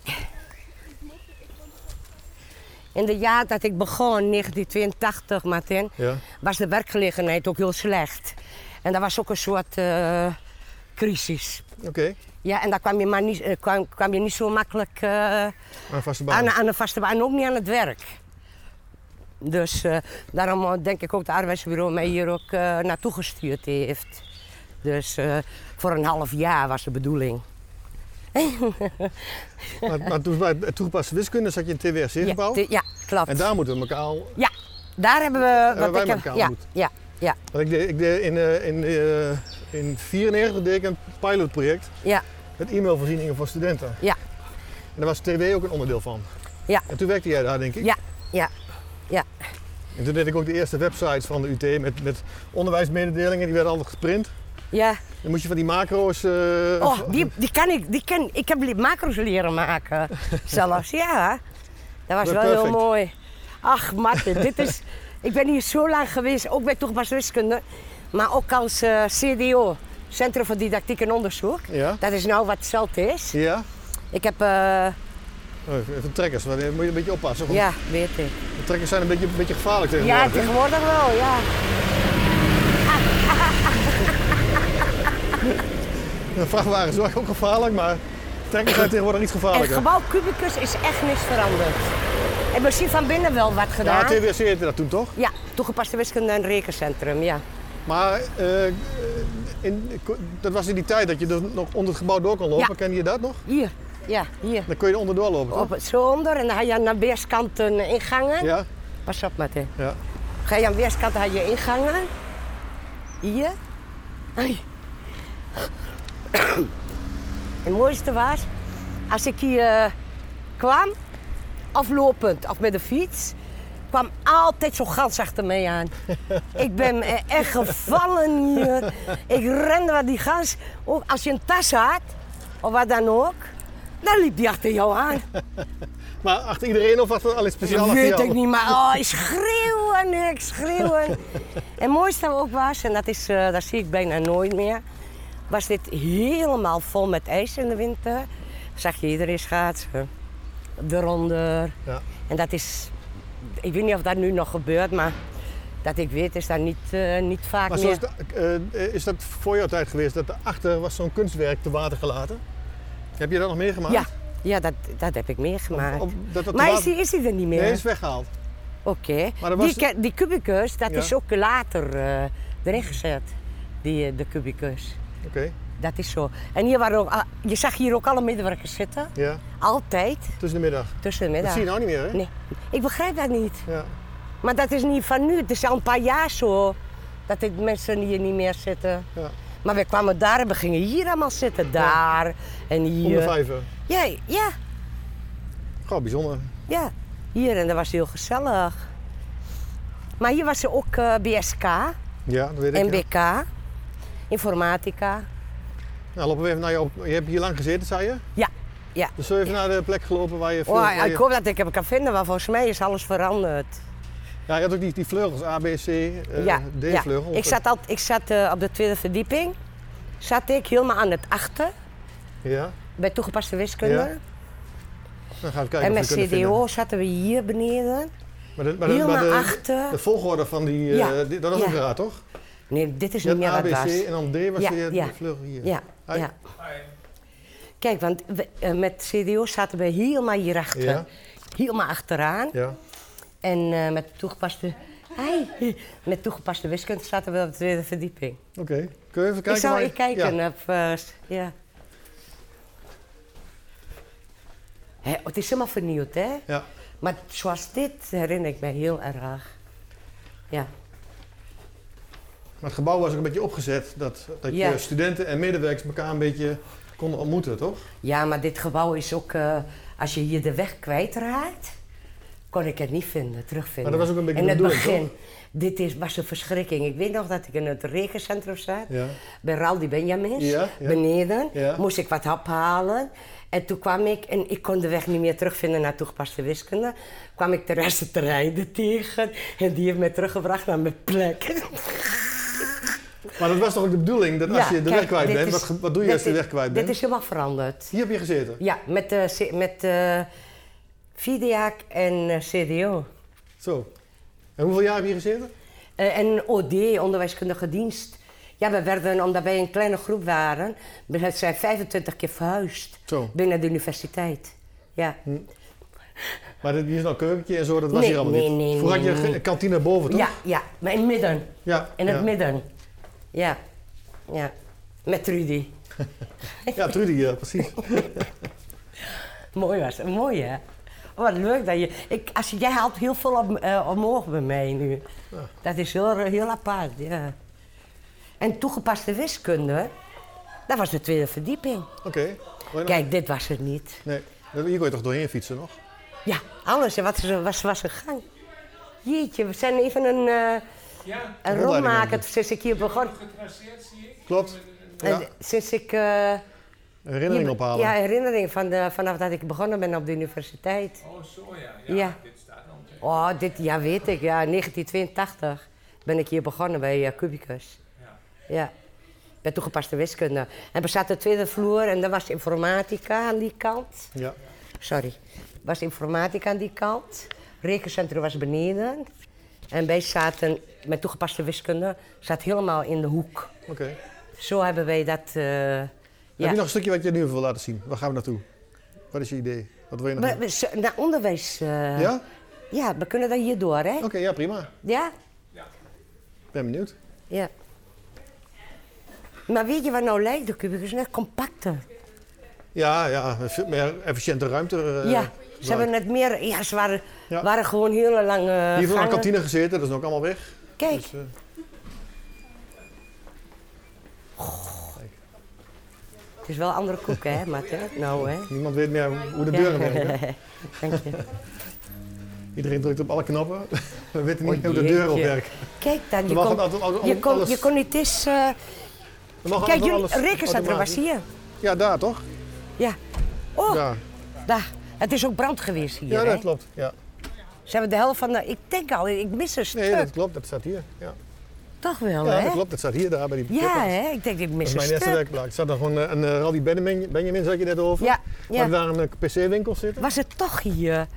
S2: In de jaar dat ik begon, 1982, Martin,
S1: Ja.
S2: was de werkgelegenheid ook heel slecht. En dat was ook een soort eh, crisis.
S1: Oké.
S2: Ja, en daar kwam je, maar niet, eh, kwam, kwam je niet zo makkelijk eh,
S1: Aan vaste baan.
S2: aan, aan de vaste baan en ook niet aan het werk. Dus eh, daarom eh, denk ik ook dat het arbeidsbureau mij hier ook eh, naartoe gestuurd heeft. Dus eh, voor een half jaar was de bedoeling.
S1: Maar, maar toen bij de toegepaste wiskunde zat je in TWS Zeegebouw.
S2: Ja, t- ja, klopt.
S1: en daar moeten we elkaar al...
S2: Daar hebben we...
S1: Hebben wij
S2: ik
S1: elkaar
S2: ja,
S1: ontmoet.
S2: ja,
S1: want Ik deed, ik deed in 1994 in, eh, in 94 deed ik een pilotproject
S2: ja,
S1: met e-mailvoorzieningen voor studenten.
S2: Ja.
S1: En daar was TW ook een onderdeel van.
S2: Ja.
S1: En toen werkte jij daar, denk ik.
S2: Ja, ja, ja.
S1: En toen deed ik ook de eerste websites van de UT met, met onderwijsmededelingen. Die werden altijd geprint.
S2: ja.
S1: Dan moest je van die macro's... eh,
S2: Oh, die, die kan ik. Die ken, ik heb li- macro's leren maken. Zelfs, ja. Dat was
S1: Dat
S2: wel heel
S1: perfect.
S2: mooi. Ach, Martin, dit is... Ik ben hier zo lang geweest, ook bij Toegepas Wiskunde. Maar ook als eh, CDO, Centrum voor Didactiek en Onderzoek.
S1: Ja?
S2: Dat is nou wat CELT is.
S1: Ja?
S2: Ik heb... eh,
S1: Oh, even trekkers, want daar moet je een beetje oppassen. want
S2: ja, weet ik.
S1: de Trekkers zijn een beetje, een beetje gevaarlijk
S2: Ja,
S1: tegenwoordig. hè?
S2: tegenwoordig wel, ja.
S1: Een vrachtwagen is wel ook gevaarlijk, maar trekkers zijn tegenwoordig niet
S2: En het
S1: gevaarlijker.
S2: gebouw Cubicus is echt niks veranderd. En misschien van binnen wel wat
S1: Ja,
S2: gedaan.
S1: TWC heette dat toen toch?
S2: Ja, toegepaste wiskunde en rekencentrum, ja.
S1: Maar eh, in, dat was in die tijd dat je dus nog onder het gebouw door kon lopen.
S2: Ja.
S1: Kende je dat nog?
S2: Hier, ja, hier.
S1: Dan kon je er onderdoor lopen, toch?
S2: Op het zonder en dan had je aan de weerskanten ingangen.
S1: Ja,
S2: Pas op, Martin.
S1: ja.
S2: Ga je aan weerskanten had je ingangen. Hier. Ai. Het mooiste was, als ik hier eh, kwam, aflopend of met de fiets, kwam altijd zo'n gans achter mij aan. ik ben eh, echt gevallen hier. Ik rende waar die gans. Ook als je een tas had, of wat dan ook, dan liep die achter jou aan.
S1: Maar achter iedereen of achter alles speciaal
S2: Dat
S1: achter
S2: weet
S1: jou?
S2: ik niet, maar oh, schreeuwen, ik schreeuwen. en het mooiste ook was, en dat, is, eh, dat zie ik bijna nooit meer, was dit helemaal vol met ijs in de winter. Zag je iedereen schaatsen, eronder.
S1: Ja.
S2: En dat is, ik weet niet of dat nu nog gebeurt, maar dat ik weet is dat niet, eh, niet vaak
S1: Maar
S2: meer.
S1: zoals de- eh, is dat voor jouw tijd geweest dat daarachter was zo'n kunstwerk te water gelaten? Heb je dat nog meegemaakt?
S2: Ja, ja dat, dat heb ik meegemaakt.
S1: Of dat dat te
S2: maar is
S1: water-
S2: die, is die er niet meer?
S1: Nee, is weggehaald.
S2: Oké.
S1: Maar dat
S2: Die,
S1: was-
S2: ke- die kubicus, dat
S1: Ja.
S2: is ook later eh, erin gezet. Die, eh, de kubicus.
S1: Oké,
S2: Dat is zo. En hier waren ook, ah, je zag hier ook alle medewerkers zitten.
S1: ja.
S2: Altijd.
S1: Tussen de middag.
S2: Tussen de
S1: Dat
S2: middag.
S1: zie je nou niet meer, hè?
S2: Nee. Ik begrijp dat niet.
S1: Ja.
S2: Maar dat is niet van nu. Het is al een paar jaar zo. Dat de mensen hier niet meer zitten.
S1: Ja.
S2: Maar we kwamen daar en we gingen hier allemaal zitten. Daar en
S1: Om de
S2: hier.
S1: vijven.
S2: Ja, ja,
S1: Gewoon bijzonder.
S2: ja. Hier en dat was heel gezellig. Maar hier was er ook eh, BSK.
S1: Ja, dat weet ik. ja.
S2: MBK, informatica.
S1: Nou, lopen we even naar jou. Je hebt hier lang gezeten, zei je?
S2: Ja, ja.
S1: Dus zullen we even naar de plek gelopen waar je... veel-
S2: Oh,
S1: waar
S2: ja,
S1: je-
S2: ik hoop dat ik hem kan vinden, maar volgens mij is alles veranderd.
S1: Ja, je had ook die, die vleugels, A, B, C, eh,
S2: ja,
S1: D
S2: ja.
S1: vleugel.
S2: Ik zat, al, ik zat eh, op de tweede verdieping. Zat ik helemaal aan het achter
S1: Ja,
S2: bij toegepaste wiskunde.
S1: Ja, dan gaan we kijken
S2: en
S1: of we
S2: met
S1: het kunnen vinden.
S2: CDO zaten we hier beneden.
S1: Maar de, maar de,
S2: Helemaal
S1: maar de,
S2: achter.
S1: de volgorde van die, eh,
S2: Ja,
S1: die- dat was
S2: ja.
S1: ook raar, toch?
S2: Nee, dit is
S1: Je
S2: niet
S1: had
S2: meer
S1: A, B,
S2: wat het was.
S1: C en dan D was
S2: Ja,
S1: weer
S2: ja.
S1: de vleugel hier.
S2: Ja,
S1: Hi.
S2: ja. Kijk, want we- eh, met CDO zaten we helemaal hierachter.
S1: Ja.
S2: Helemaal achteraan.
S1: Ja.
S2: En eh, met toegepaste Ai. Met toegepaste wiskunde zaten we op de tweede verdieping.
S1: Oké, kun je even kijken?
S2: ik zal
S1: waar je-
S2: even kijken.
S1: Ja.
S2: Op, eh, s- ja. Hè, het is helemaal vernieuwd, hè?
S1: ja.
S2: Maar zoals dit herinner ik me heel erg. Ja.
S1: Maar het gebouw was ook een beetje opgezet dat, dat
S2: Ja.
S1: je studenten en medewerkers elkaar een beetje konden ontmoeten, toch?
S2: ja, maar dit gebouw is ook... eh, als je hier de weg kwijtraakt, kon ik het niet vinden, terugvinden.
S1: Maar dat was ook een beetje
S2: In
S1: de
S2: het
S1: bedoeling,
S2: begin. Dit is, was een verschrikking. Ik weet nog dat ik in het regencentrum zat.
S1: Ja.
S2: bij Raldi Benjamins,
S1: Ja, ja.
S2: beneden,
S1: Ja.
S2: moest ik wat hap halen. En toen kwam ik, en ik kon de weg niet meer terugvinden naar toegepaste wiskunde, kwam ik Therese Terreide tegen. En die heeft mij teruggebracht naar mijn plek.
S1: Maar dat was toch ook de bedoeling dat als
S2: Ja,
S1: je de
S2: kijk,
S1: weg kwijt
S2: dit
S1: bent,
S2: is-
S1: wat, ge- wat doe je
S2: dit
S1: als je de
S2: is-
S1: weg kwijt bent?
S2: Dit is helemaal veranderd.
S1: Hier heb je gezeten.
S2: Ja, met, eh, C- met eh Vidiac en eh, CDO.
S1: Zo. En hoeveel jaar heb je gezeten?
S2: Eh, en OD, onderwijskundige dienst. Ja, we werden, omdat wij een kleine groep waren, we zijn 25 keer verhuisd
S1: Zo. Hm,
S2: binnen de universiteit. Ja.
S1: Maar dit, hier is nou een keukentje en zo, dat was
S2: Nee,
S1: hier allemaal
S2: nee,
S1: niet.
S2: nee,
S1: Vroeger
S2: nee,
S1: had je
S2: nee.
S1: een ge- kantine boven, toch?
S2: Ja, ja, maar in het midden.
S1: Ja,
S2: In het
S1: ja.
S2: midden. Ja. ja. Met Trudy.
S1: Ja, Trudy, ja, precies.
S2: Mooi was het. Mooi hè? Oh, Wat leuk dat je... Ik, als, je- jij haalt heel veel om, eh, omhoog bij mij nu. Dat is heel, heel apart, ja. En toegepaste wiskunde, dat was de tweede verdieping.
S1: Oké. Hoor je nog?
S2: Kijk, dit was het niet.
S1: Nee, dat- hier kon je toch doorheen fietsen nog?
S2: Ja, alles. hè, Wat is er- was, was een gang? Jeetje, we zijn even een, eh
S4: Ja,
S2: een
S1: Rondleiding
S2: rond
S1: aan
S2: maken
S1: het
S2: sinds ik hier begon.
S4: getraceerd zie ik.
S1: Klopt. Ja,
S2: Eh, Sinds ik... eh,
S1: herinnering ophalen.
S2: Ja, herinnering van de, vanaf dat ik begonnen ben op de universiteit.
S4: Oh, zo ja. Ja,
S2: Ja.
S4: dit staat dan. tegen.
S2: Oh, dit, ja, weet ik, ja, 1982 ben ik hier begonnen bij eh, Cubicus.
S4: Ja.
S2: Ja, bij toegepaste wiskunde. En we zaten de tweede vloer en dan was informatica aan die kant.
S1: Ja.
S2: Sorry, was informatica aan die kant. Rekencentrum was beneden. En wij zaten met toegepaste wiskunde, zat helemaal in de hoek.
S1: Oké.
S2: Zo hebben wij dat. eh, ja.
S1: Heb je nog een stukje wat je nu wil laten zien? Waar gaan we naartoe? Wat is je idee? Wat wil je nog
S2: We-
S1: doen?
S2: we- zo- naar onderwijs. eh,
S1: Ja? Oh.
S2: Ja, we kunnen dat hier door, hè?
S1: Oké, ja, prima.
S2: Ja?
S4: Ja.
S1: Ik ben benieuwd.
S2: Ja. Maar weet je wat nou lijkt? De kubicus net compacter.
S1: Ja, ja, veel meer efficiënte ruimte. eh,
S2: ja,
S1: gebruik.
S2: ze hebben net meer... Ja, ze waren,
S1: Ja.
S2: waren gewoon hele lange
S1: Hier heeft een
S2: gangen.
S1: kantine gezeten, dat is ook allemaal weg.
S2: Kijk,
S1: Dus, eh,
S2: het is wel een andere koek, hè, Matt? Hè? Nou, hè?
S1: niemand weet meer hoe de deuren werken.
S2: Dank je.
S1: Iedereen drukt op alle knoppen. We weten niet
S2: Oh,
S1: hoe de
S2: jeetje.
S1: deuren op werken.
S2: Kijk dan,
S1: We
S2: je
S1: mogen
S2: kon,
S1: altijd al- al-
S2: je kon,
S1: alles-
S2: je kon niet eens... eh,
S1: we mogen altijd
S2: kijk, jullie,
S1: alles
S2: rekencentrum
S1: automatisch.
S2: was hier.
S1: Ja, daar toch?
S2: Ja. Oh,
S1: Ja,
S2: daar. Het is ook brand geweest hier,
S1: ja
S2: hè?
S1: dat klopt. Ja.
S2: Ze hebben de helft van de... Ik denk al, ik mis een stuk.
S1: Nee, dat klopt. Dat staat hier. Ja,
S2: Toch wel,
S1: ja
S2: Oh, hè?
S1: dat klopt. Dat staat hier, daar bij die
S2: Ja,
S1: parkeerplaats.
S2: hè? Ik denk, ik
S1: Dat
S2: mis
S1: is
S2: een
S1: mijn eerste
S2: stuk.
S1: werkplaats. Ik zat er gewoon eh, een uh, Rally Benjamin, Benjamin, zat je net over.
S2: Ja,
S1: Maar
S2: ja.
S1: daar een PC-winkel zitten.
S2: Was het toch hier?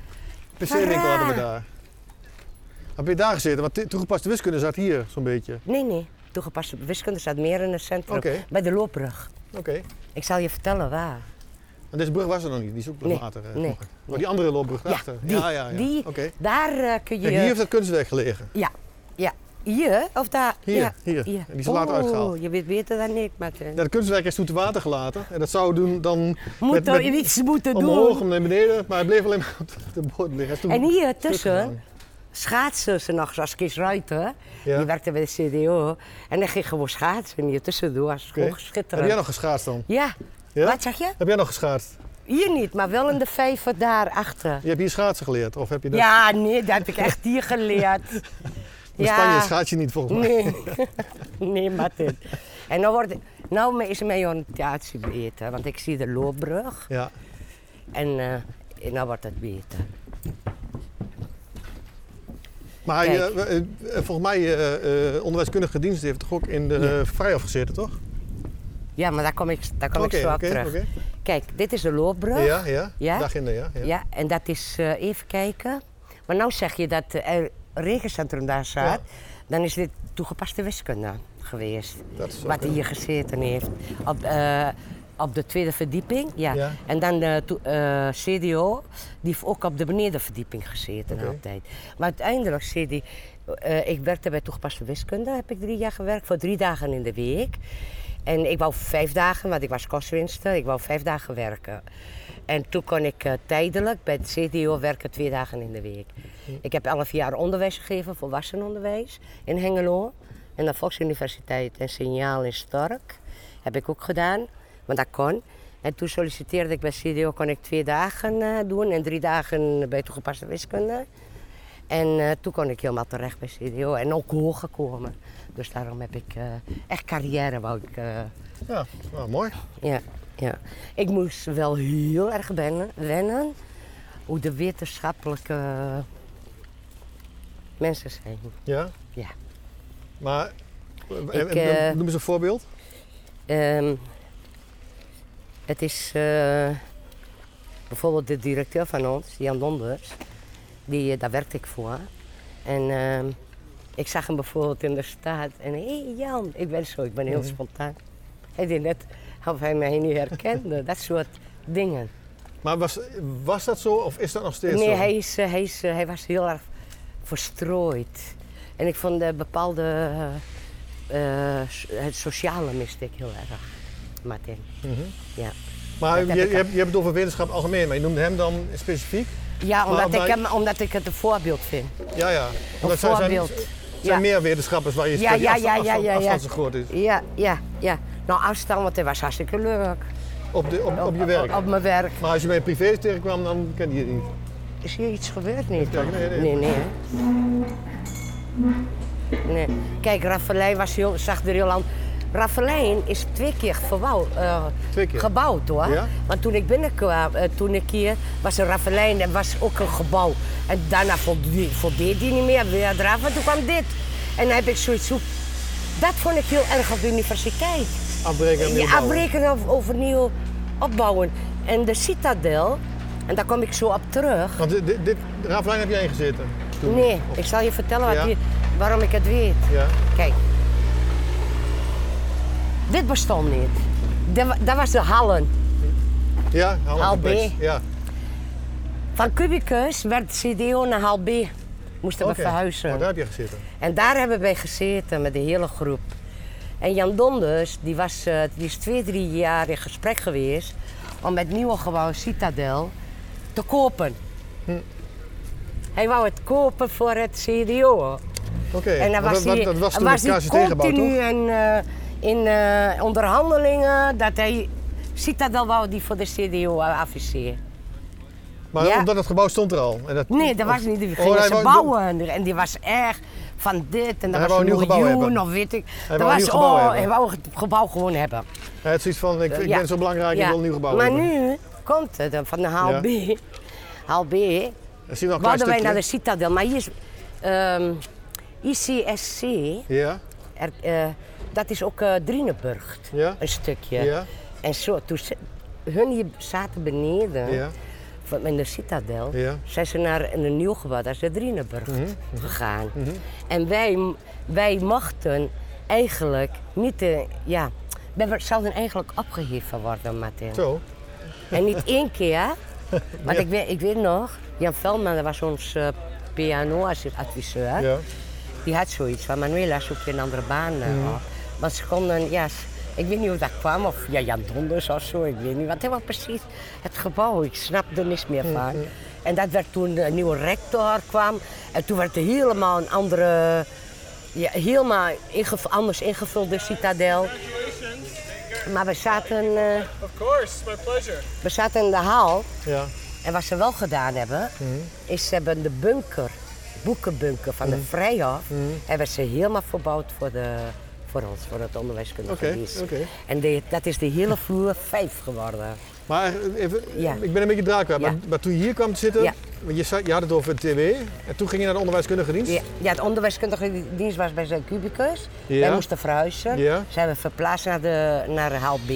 S1: PC-winkel
S2: raar.
S1: hadden we daar. Heb je daar gezeten? Want t- toegepaste wiskunde zat hier zo'n beetje.
S2: Nee, nee. Toegepaste wiskunde staat meer in het centrum.
S1: Oké.
S2: Bij de loopbrug.
S1: Oké.
S2: Ik zal je vertellen waar.
S1: En deze brug was er nog niet, die is ook nog
S2: Nee,
S1: later. eh,
S2: nee,
S1: nog. Maar die andere loopbrug daarachter.
S2: die.
S1: ja, ja, ja.
S2: Die,
S1: Oké.
S2: daar eh, kun je...
S1: Kijk, hier heeft dat kunstwerk gelegen.
S2: Ja, ja. Hier? Of daar?
S1: Hier,
S2: ja.
S1: hier. En die is later
S2: oh,
S1: uitgehaald.
S2: je weet beter dan ik, eh, Martin.
S1: Ja, dat kunstwerk is toen te water gelaten. En dat zou doen dan
S2: Moet nou
S1: met-
S2: er
S1: met-
S2: iets moeten
S1: omhoog,
S2: doen.
S1: om naar beneden. Maar het bleef alleen maar op de boord liggen. Hij is toen
S2: En hier
S1: stuk
S2: tussen
S1: gegaan.
S2: schaatsen ze nog, zoals Kees Ruiter.
S1: Ja.
S2: Die werkte bij de CDO. En dan ging gewoon schaatsen hier tussendoor. Dat is
S1: Oké.
S2: gewoon
S1: Heb
S2: schitterend.
S1: jij nog geschaatst dan?
S2: Ja.
S1: Ja?
S2: Wat zeg je?
S1: Heb jij nog geschaatst?
S2: Hier niet, maar wel in de vijver daarachter.
S1: Je hebt hier schaatsen geleerd? Of heb je dat...
S2: Ja, nee, dat heb ik echt hier geleerd.
S1: In Spanje schaats je niet volgens mij.
S2: Nee, nee, Martin. En nou, wordt, nou is mijn oriëntatie beter, want ik zie de loopbrug
S1: Ja.
S2: en eh nou wordt het beter.
S1: Maar
S2: Kijk.
S1: je, eh, eh, volgens mij, eh, eh, onderwijskundige dienst heeft toch ook in de eh, vrijaf gezeten, toch?
S2: Ja, maar daar kom ik, daar kom
S1: Oké,
S2: ik zo op
S1: oké,
S2: terug.
S1: oké.
S2: Kijk, dit is de loopbrug.
S1: Ja, ja,
S2: Ja?
S1: Dag in de, ja.
S2: Ja, en dat is, eh, even kijken. Maar nou zeg je dat eh, er regencentrum daar zat, dan is dit toegepaste wiskunde geweest.
S1: Dat is
S2: wat
S1: oké.
S2: hier gezeten heeft. Op, eh, op de tweede verdieping. Ja.
S1: Ja.
S2: En dan de to- eh, CDO, die heeft ook op de benedenverdieping gezeten
S1: Oké.
S2: altijd. Maar uiteindelijk, CD, eh, ik werkte bij toegepaste wiskunde, heb ik drie jaar gewerkt, voor drie dagen in de week. En ik wou vijf dagen, want ik was kostwinster, ik wou vijf dagen werken. En toen kon ik eh, tijdelijk bij het CDO werken twee dagen in de week. Ik heb elf jaar onderwijs gegeven, volwassenenonderwijs in Hengelo. En de Volksuniversiteit en Signaal in Stork heb ik ook gedaan, want dat kon. En toen solliciteerde ik bij CDO, kon ik twee dagen eh, doen en drie dagen bij toegepaste wiskunde. En eh, toen kon ik helemaal terecht bij CDO en ook hoger komen. Dus daarom heb ik eh, echt carrière wou ik. eh,
S1: Ja, nou, mooi.
S2: ja, ja. Ik moest wel heel erg wennen, wennen hoe de wetenschappelijke eh, mensen zijn.
S1: Ja.
S2: Ja.
S1: Maar, eh,
S2: Ik,
S1: eh,
S2: eh,
S1: noem eens een voorbeeld.
S2: Ehm, het is eh, bijvoorbeeld de directeur van ons, Jan Donders, die, eh, daar werkte ik voor. En ehm, ik zag hem bijvoorbeeld in de straat en hé hey Jan, ik ben zo, ik ben heel spontaan. Hij deed net of hij mij niet herkende, dat soort dingen.
S1: Maar was, was dat zo of is dat nog steeds
S2: Nee,
S1: zo?
S2: hij, is, eh, hij, is, eh, hij was heel erg verstrooid. En ik vond de bepaalde eh, eh, so- het sociale miste ik heel erg, Martin.
S1: Mhm.
S2: Ja.
S1: Maar
S2: dat heb
S1: je,
S2: ik
S1: je,
S2: al.
S1: hebt, je hebt het over wetenschap algemeen, maar je noemde hem dan specifiek?
S2: Ja, omdat,
S1: Maar-
S2: ik, hem, omdat ik het een voorbeeld vind.
S1: Ja, ja.
S2: Een
S1: Omdat zijn, zijn,
S2: voorbeeld.
S1: zijn
S2: ja.
S1: meer wetenschappers waar je
S2: Ja,
S1: spreekt, die
S2: ja,
S1: afstand-
S2: ja, ja,
S1: afstand-
S2: ja, ja.
S1: afstand zo groot is.
S2: ja, ja, ja. Nou, afstand, want het was hartstikke leuk.
S1: Op, de, op, op je werk.
S2: Op, mijn werk.
S1: Maar als je bij privé tegenkwam, dan ken je het niet.
S2: Is hier iets gebeurd? Nee,
S1: Kijk, nee, nee.
S2: nee. hè. nee. Kijk, Raffelijn was heel, zag er heel aan. Raffelijn is twee keer, verbouw, eh,
S1: Twee keer?
S2: gebouwd hoor.
S1: Ja?
S2: Want toen ik binnenkwam, eh, toen ik hier, was er Raffelijn en was ook een gebouw. En daarna voldeed, voldeed die niet meer, weer eraf, maar toen kwam dit. En dan heb ik zoiets, hoe- dat vond ik heel erg op de universiteit.
S1: Afbreken en
S2: Je
S1: neerbouwen.
S2: afrekenen of overnieuw opbouwen. En de citadel, en daar kom ik zo op terug.
S1: Want dit, dit, dit Ravelijn heb jij ingezeten? toen?
S2: Nee,
S1: Of-
S2: ik zal je vertellen wat
S1: Ja?
S2: hier- waarom ik het weet.
S1: Ja.
S2: Kijk, dit bestond niet. Dit wa- Dat was de hallen.
S1: Ja,
S2: Hal
S1: Hal
S2: B.
S1: Ja.
S2: Van Cubicus werd CDO naar Hal B. Moesten
S1: Oké.
S2: we verhuizen.
S1: Oh, daar heb je gezeten.
S2: En daar hebben wij gezeten met de hele groep. En Jan Donders, die, was, eh, die is twee, drie jaar in gesprek geweest om het nieuwe gebouw Citadel te kopen.
S1: Hm.
S2: Hij wou het kopen voor het CDO.
S1: Oké.
S2: En dan
S1: want
S2: was
S1: dat,
S2: hij,
S1: dat was toen
S2: was
S1: het
S2: hij
S1: KCT-gebouw,
S2: continu
S1: toch?
S2: in, eh, in eh, onderhandelingen dat hij Citadel wou die voor de CDO adviseren.
S1: Maar
S2: Ja.
S1: omdat het gebouw stond er al. En dat,
S2: Nee, dat was niet. Die
S1: Oh,
S2: gingen
S1: hij
S2: ze
S1: wou-
S2: bouwen. En die was erg van dit en
S1: Hij
S2: dat was
S1: wou
S2: een
S1: een nieuw gebouw
S2: miljoen
S1: hebben.
S2: of weet ik.
S1: Hij
S2: Dat
S1: wou een
S2: was,
S1: nieuw gebouw
S2: oh,
S1: hebben.
S2: hij wou het gebouw gewoon hebben.
S1: Hij had zoiets van, ik, ik
S2: Ja.
S1: ben zo belangrijk, ik
S2: Ja.
S1: wil een nieuw gebouw
S2: Maar
S1: hebben.
S2: nu komt het eh, van de HLB. HLB
S1: Dat zien we wel een
S2: wouden wij
S1: klein
S2: naar
S1: stukje.
S2: de Citadel. Maar hier is ehm, ICSC,
S1: Ja,
S2: er, eh, dat is ook eh Drieneburg,
S1: Ja.
S2: een stukje.
S1: ja,
S2: En zo, toen ze- hun hier zaten beneden
S1: ja.
S2: van in de Citadel,
S1: Ja. Mhm,
S2: zijn ze naar een nieuw gebouw, dat is de Drieneburg, gegaan. En wij, wij mochten eigenlijk niet, eh, ja, we zouden eigenlijk opgeheven worden, Martin.
S1: Zo.
S2: En niet één keer, want ik, weet, ik weet nog, Jan Veldman, dat was ons eh, piano-adviseur,
S1: Ja.
S2: die had zoiets van, Manuela, zoek je een andere baan eh, op. Want ze konden, ja, s- ik weet niet hoe dat kwam, of ja, Jan Donders of zo, ik weet niet. Want hij was precies het gebouw, ik snap er niks meer van. En dat werd toen een nieuwe rector kwam. En toen werd er helemaal een andere, ja, helemaal ingev- anders ingevuld, de citadel. Maar we zaten, eh,
S5: Of course, my pleasure.
S2: we zaten in de hal.
S1: Ja.
S2: En wat ze wel gedaan hebben,
S1: Mhm.
S2: is ze hebben de bunker, boekenbunker van
S1: Mhm.
S2: de Vrijhof, hebben ze helemaal verbouwd voor, de, voor ons, voor het onderwijskundige
S1: Oké,
S2: dienst.
S1: oké.
S2: En die- dat is de hele vloer vijf geworden.
S1: Maar even,
S2: Ja.
S1: ik ben een beetje draak kwijt,
S2: Ja.
S1: maar, maar toen je hier kwam te zitten,
S2: Ja.
S1: want je, zei- je had het over TW en toen ging je naar de onderwijskundige dienst.
S2: Ja, ja, het onderwijskundige dienst was bij zijn cubicus.
S1: Ja.
S2: Wij moesten verhuizen.
S1: Ja.
S2: Ze hebben verplaatst naar, de, naar Haal B.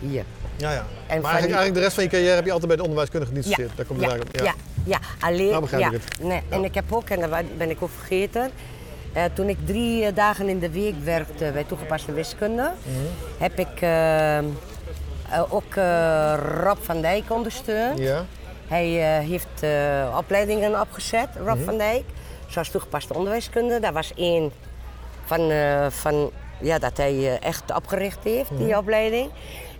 S2: Hier.
S1: Ja, ja. Maar
S2: van
S1: eigenlijk,
S2: die-
S1: eigenlijk de rest van je carrière heb je altijd bij de onderwijskundige dienst gezeten. Daar komt
S2: ja,
S1: het eigenlijk op.
S2: ja. ja. alleen.
S1: Nou begrijp
S2: ja,
S1: ik het.
S2: Nee. En ik heb ook, en dat wa- ben ik ook vergeten. eh, toen ik drie
S1: Mhm.
S2: eh, dagen in de week werkte bij toegepaste wiskunde, heb ik eh, eh, ook eh, Rob van Dijk ondersteund.
S1: Ja.
S2: Hij eh, heeft eh, opleidingen opgezet, Rob van Dijk. Zoals toegepaste onderwijskunde. Daar was één van, eh, van ja, dat hij eh, echt opgericht heeft, die opleiding.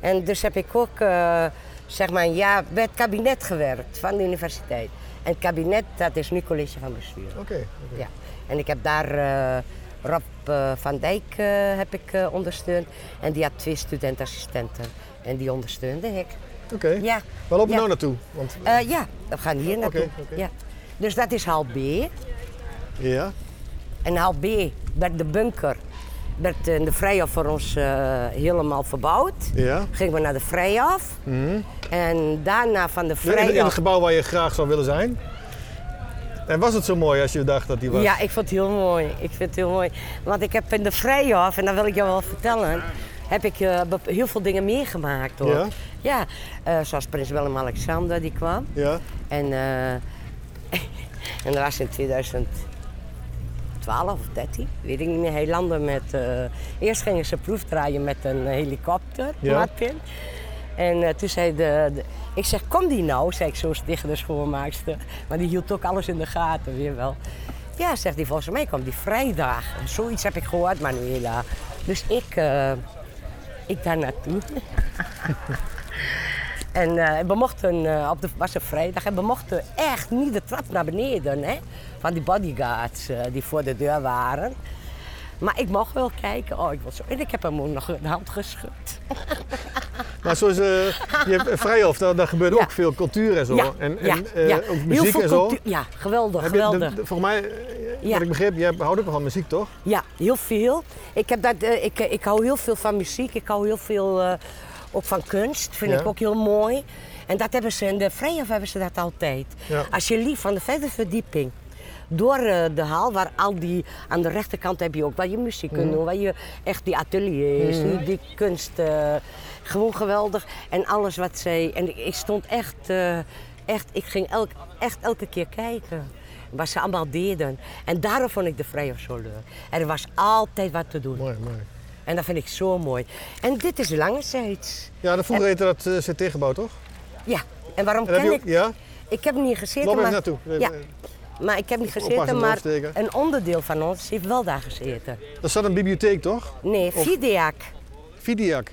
S2: En dus heb ik ook eh, zeg maar een jaar bij het kabinet gewerkt van de universiteit. En het kabinet, dat is nu college van bestuur.
S1: Oké. oké.
S2: Ja. En ik heb daar eh, Rob eh, van Dijk eh, heb ik, eh, ondersteund. En die had twee studentassistenten. En die ondersteunde ik.
S1: Oké.
S2: Ja.
S1: Waar lopen we
S2: Ja.
S1: nou naartoe? Want,
S2: Eh, ja, we gaan hier naartoe.
S1: oké.
S2: Ja. Dus dat is hal B.
S1: ja.
S2: En hal B werd de bunker werd in de Vrijhof voor ons eh, helemaal verbouwd.
S1: Ja.
S2: Gingen we naar de Vrijhof. En daarna van de
S1: In, in het
S2: Vrijhof...
S1: gebouw waar je graag zou willen zijn. En was het zo mooi als je dacht dat die was?
S2: Ja, ik vond het heel mooi. Ik vind het heel mooi. Want ik heb in de Vrijhof, en dat wil ik jou wel vertellen... heb ik eh, bep- heel veel dingen meegemaakt hoor.
S1: Ja?
S2: Ja, eh, zoals prins Willem-Alexander die kwam.
S1: Ja.
S2: En, eh, en dat was in 2012 of 13, weet ik niet meer. Hij landde met. eh, eerst gingen ze proefdraaien met een helikopter,
S1: Ja.
S2: Martin. En eh, toen zei de, de- Ik zeg, kom die nou? zei ik zo tegen de schoonmaakster. Maar die hield ook alles in de gaten, weer wel. Ja, zegt hij, volgens mij kwam die vrijdag. Zoiets heb ik gehoord, Manuela. Dus ik, eh, ik daar naartoe. En eh, we mochten, eh, op de, was een vrijdag, en we mochten echt niet de trap naar beneden hè, van die bodyguards eh, die voor de deur waren. Maar ik mocht wel kijken. Oh, ik was zo. En ik heb hem ook nog een hand geschud.
S1: Maar zoals eh je hebt eh, Vrijhof, daar, daar gebeurt
S2: Ja.
S1: ook veel cultuur en zo.
S2: ja,
S1: en en
S2: ja,
S1: eh,
S2: ja.
S1: ook
S2: Heel
S1: muziek
S2: veel
S1: en zo.
S2: cultuur- Ja, geweldig,
S1: Heb je de-
S2: geweldig.
S1: de- volgens mij, eh,
S2: Ja.
S1: wat ik begreep, jij houdt ook wel van muziek, toch?
S2: Ja, heel veel. Ik, heb dat, eh, ik, eh, ik hou heel veel van muziek. Ik hou heel veel eh, ook van kunst. Vind
S1: Ja.
S2: ik ook heel mooi. En dat hebben ze in de Vrijhof hebben ze dat altijd.
S1: Ja.
S2: Als je lief van de vijfde verdieping door eh, de hal, waar al die aan de rechterkant heb je ook waar je muziek kunt doen, waar je echt die ateliers, die, die kunst, eh, gewoon geweldig en alles wat zij. En ik, ik stond echt, eh, echt, ik ging elk, echt elke keer kijken wat ze allemaal deden. En daarom vond ik de Vrijhof zo leuk. Er was altijd wat te doen.
S1: Mooi, mooi.
S2: En dat vind ik zo mooi. En dit is langezijds.
S1: Ja, de vroeger heette dat eh CT-gebouw, toch?
S2: Ja, en waarom
S1: En heb
S2: ken
S1: je
S2: ik...
S1: ook, ja?
S2: Ik heb er niet gezeten,
S1: Loop even
S2: maar...
S1: naartoe. Eh,
S2: Ja,
S1: eh,
S2: maar ik heb niet
S1: oppassen
S2: gezeten,
S1: met
S2: maar
S1: oversteken.
S2: een onderdeel van ons heeft wel daar gezeten.
S1: Er zat een bibliotheek, toch?
S2: Nee,
S1: Of-
S2: Videak.
S1: Vidiac.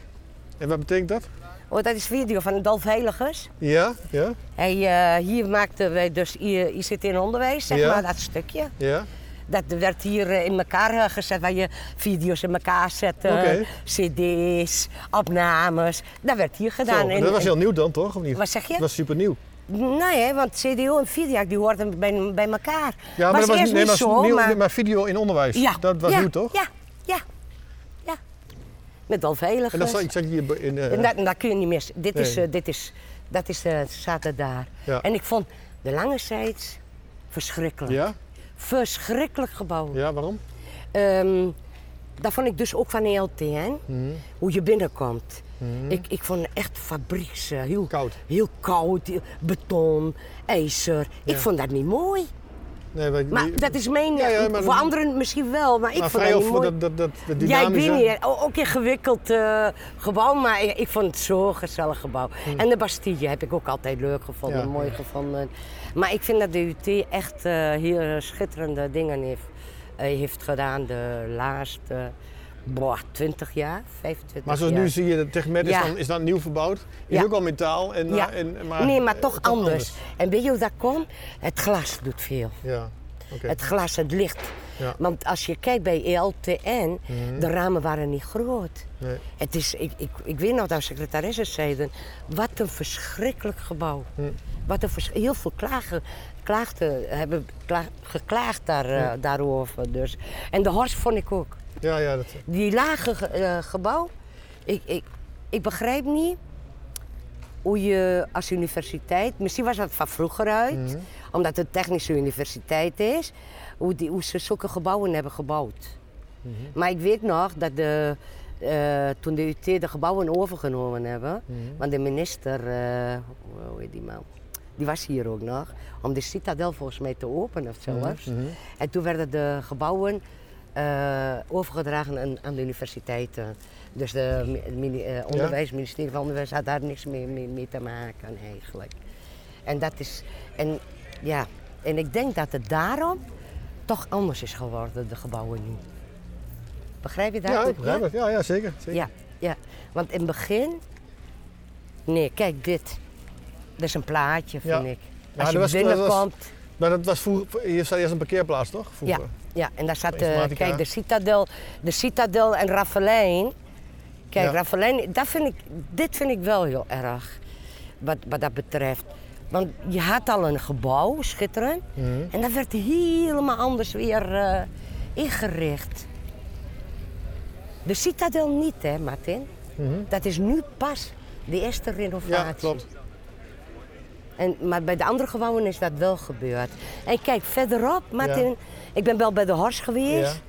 S1: En wat betekent dat?
S2: Oh, dat is video van Dolf Heiligers.
S1: Ja, ja,
S2: Hij, eh, hier maakten wij dus I- ICT in onderwijs, zeg
S1: Ja.
S2: maar, dat stukje.
S1: ja.
S2: Dat werd hier eh, in elkaar eh, gezet, waar je video's in elkaar zette,
S1: Oké.
S2: cd's, opnames. Dat werd hier
S1: Zo,
S2: gedaan.
S1: en
S2: Nou, En-
S1: dat was
S2: en-
S1: heel nieuw dan, toch? Of niet?
S2: Wat zeg je?
S1: Dat was super nieuw.
S2: Nee, hè, want CDO en Videak die hoorden bij, bij elkaar.
S1: Ja, maar
S2: was
S1: dat was,
S2: eerst
S1: nee,
S2: niet
S1: maar
S2: zo,
S1: nieuw,
S2: maar...
S1: maar video in onderwijs.
S2: Ja.
S1: Dat was
S2: ja,
S1: nieuw, toch?
S2: Ja, ja, ja. Met al veilig.
S1: En dat zat, zat je hier be- in... eh,
S2: En dat, dat kun je niet meer. Dit is,
S1: Nee.
S2: eh, dit is, dat is, eh, staat er daar.
S1: Ja.
S2: En ik vond de lange zijds verschrikkelijk.
S1: ja?
S2: Verschrikkelijk gebouw.
S1: ja, waarom?
S2: Ehm, dat vond ik dus ook van ELTN.
S1: Mhm.
S2: Hoe je binnenkomt. Ik, ik vond het echt fabrieks. eh, heel
S1: Koud.
S2: Heel koud, heel- beton, ijzer. Ik vond dat niet mooi.
S1: Nee, maar,
S2: Maar dat is mijn. eh,
S1: Ja, ja, maar
S2: voor
S1: dat-
S2: anderen misschien wel, maar ik
S1: maar
S2: vond dat niet
S1: Vrijhof,
S2: mooi.
S1: dat, dat, dat, dat
S2: Ja, ik
S1: dynamische...
S2: weet niet. hè. O- Ook ingewikkeld eh, gebouw, maar ik, ik vond het zo'n gezellig gebouw. En de Bastille heb ik ook altijd leuk gevonden,
S1: Hmm. Ja.
S2: mooi gevonden. Maar ik vind dat de UT echt eh, hier schitterende dingen heeft, eh, heeft gedaan de laatste boah, 20 jaar, 25
S1: Maar zoals
S2: jaar.
S1: nu zie je, dat Techmed is,
S2: Ja.
S1: dan, is dan nieuw verbouwd. Is
S2: Ja.
S1: ook al metaal. En, eh,
S2: ja.
S1: en, maar,
S2: nee, maar toch
S1: eh,
S2: anders. En weet je hoe dat komt? Het glas doet veel.
S1: Ja, oké.
S2: Het glas, het licht.
S1: Ja. Mhm.
S2: Want als je kijkt bij E ELTN, de ramen waren niet groot.
S1: Nee.
S2: Het is, ik, ik, ik weet nog dat secretarissen zeiden, wat een verschrikkelijk gebouw. Wat een vers- heel veel klagen, klaagden, hebben kla- geklaagd daar, eh, daarover. Dus. En de Horst vond ik ook.
S1: Ja, ja, dat,
S2: Die lage ge- eh, gebouw, ik, ik, ik begrijp niet hoe je als universiteit, misschien was dat van vroeger uit, omdat het een technische universiteit is, hoe, die, hoe ze zulke gebouwen hebben gebouwd. Maar ik weet nog dat de, eh, toen de UT de gebouwen overgenomen hebben, want de minister, eh, hoe heet die man? Die was hier ook nog, om de citadel volgens mij te openen zelfs. En toen werden de gebouwen eh, overgedragen aan, aan de universiteiten. Dus de mi- het mini- eh, onderwijs, ministerie van Onderwijs had daar niks meer mee, mee te maken eigenlijk. En dat is, en ja, en ik denk dat het daarom toch anders is geworden, de gebouwen nu. Begrijp je dat?
S1: Ja, ik begrijp het. Ja, ja zeker. zeker.
S2: Ja, ja, want in het begin. Nee, kijk dit. Dat is een plaatje,
S1: Ja.
S2: vind ik.
S1: Ja,
S2: Als
S1: dat was-
S2: je
S1: dat was-
S2: binnenkomt.
S1: Maar dat was vroeger, hier staat eerst een parkeerplaats toch? Vroeger.
S2: Ja, en daar staat,
S1: Bij
S2: eh,
S1: Informatica.
S2: kijk, de Citadel, de Citadel en Raffelijn. Kijk,
S1: Ja.
S2: Raffelijn, dat vind ik, dit vind ik wel heel erg, wat, wat dat betreft. Want je had al een gebouw, schitterend,
S1: Mhm.
S2: en dat werd helemaal anders weer eh, ingericht. De Citadel niet, hè, Martin? Dat is nu pas de eerste renovatie.
S1: Mhm. Ja, klopt.
S2: En, maar bij de andere gebouwen is dat wel gebeurd. En kijk, verderop, Martin, ik ben wel bij de Hors geweest,
S1: Ja.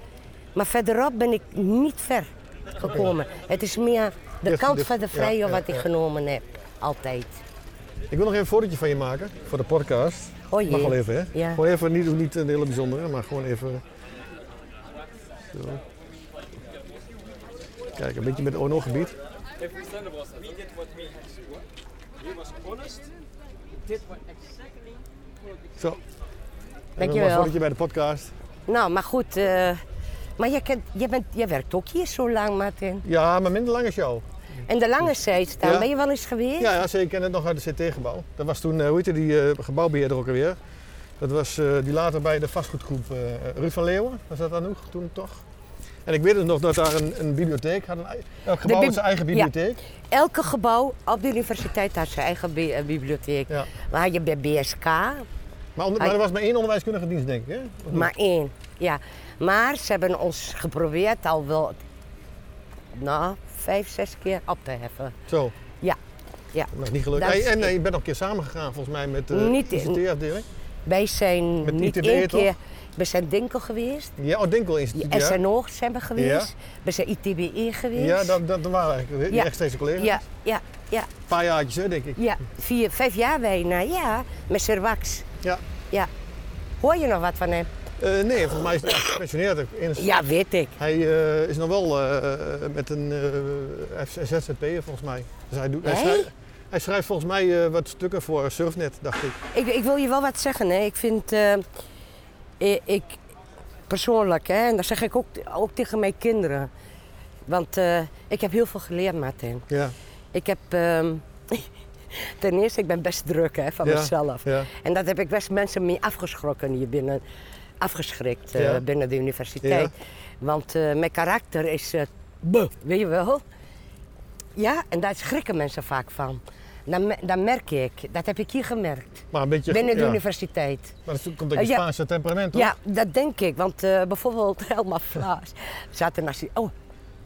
S2: maar verderop ben ik niet ver gekomen. Het is meer de
S1: Dit-
S2: kant
S1: dit-
S2: van de
S1: ja,
S2: vrije
S1: ja,
S2: wat ik
S1: ja.
S2: genomen heb, altijd.
S1: Ik wil nog even een fotootje van je maken voor de podcast.
S2: Oh jee.
S1: Mag wel even, hè?
S2: Ja.
S1: Gewoon even, niet, niet een hele bijzondere, maar gewoon even. Zo. Kijk, een beetje met het ONO-gebied.
S5: Everything was we did what we had to do. He was honest, did what exactly
S1: Zo. En Een mooi
S2: Dankjewel.
S1: fotootje bij de podcast.
S2: Nou, maar goed, eh, maar jij, kent, jij, bent, jij werkt ook hier zo lang, Martin.
S1: Ja, maar minder lang als jou.
S2: En de lange zijde daar,
S1: Ja.
S2: ben je wel eens geweest?
S1: Ja, ja, zeker. Ik ken het nog uit het CT-gebouw. Dat was toen, eh, hoe heette die eh, gebouwbeheerder ook alweer? Dat was eh, die later bij de vastgoedgroep eh Ruud van Leeuwen. Was dat dan ook toen toch? En ik weet het nog dat daar een, een bibliotheek had. Een, ei- elk gebouw had
S2: bib-
S1: zijn eigen
S2: ja.
S1: bibliotheek.
S2: Elke gebouw op de universiteit had zijn eigen bi- eh, bibliotheek.
S1: Ja.
S2: Maar had je bij BSK,
S1: Maar, onder- maar er was maar één onderwijskundige dienst, denk ik. Hè? Of niet?
S2: Maar één, ja. Maar ze hebben ons geprobeerd al wel, nou, vijf, zes keer op te heffen.
S1: Zo,
S2: Ja, ja.
S1: dat is niet gelukt.
S2: Dat
S1: Hey,
S2: is-
S1: en eh, je bent nog een keer samengegaan volgens mij met eh, de
S2: Niet in-
S1: ICT-afdeling.
S2: Wij zijn
S1: Met
S2: niet
S1: ITB
S2: één
S1: toch?
S2: keer, we zijn Dinkel geweest,
S1: Ja, oh, Dinkel Instituut.
S2: ja. SNO zijn we geweest, we zijn ITBE
S1: ja.
S2: E geweest.
S1: ja dat, dat waren eigenlijk
S2: Ja.
S1: rechtstreeks collega's.
S2: ja, ja, ja,
S1: Een paar jaartjes, hè, denk ik.
S2: ja. Vier, vijf jaar bijna, ja, met Servax.
S1: Ja.
S2: Ja. Hoor je nog wat van hem?
S1: Eh, nee, volgens mij is hij gepensioneerd. ook. In-
S2: Ja, weet ik.
S1: Hij eh, is nog wel eh, eh, met een eh, F- ZZP'er volgens mij. Dus hij, doet, hij,
S2: Hè?
S1: schrijft, hij schrijft volgens mij eh, wat stukken voor Surfnet, dacht ik.
S2: Ik, ik wil je wel wat zeggen. Hè. Ik vind, eh, ik, ik persoonlijk, hè, en dat zeg ik ook, ook tegen mijn kinderen. Want eh, ik heb heel veel geleerd, Martin.
S1: Ja,
S2: Ik heb, ehm, ten eerste, ik ben best druk hè, van
S1: Ja,
S2: mezelf.
S1: ja.
S2: En dat heb ik best mensen mee afgeschrokken hier binnen. Afgeschrikt eh,
S1: Ja.
S2: binnen de universiteit. Want eh, mijn karakter is, eh, buh, weet je wel. Ja, en daar schrikken mensen vaak van. Dat, me- dat merk ik. Dat heb ik hier gemerkt.
S1: maar een beetje...
S2: Binnen de
S1: ja.
S2: universiteit.
S1: Maar dat komt uit je
S2: Eh, ja.
S1: Spaanse temperament, toch?
S2: Ja, dat denk ik. Want eh, bijvoorbeeld Helma Vlaas zaten naast die... Oh,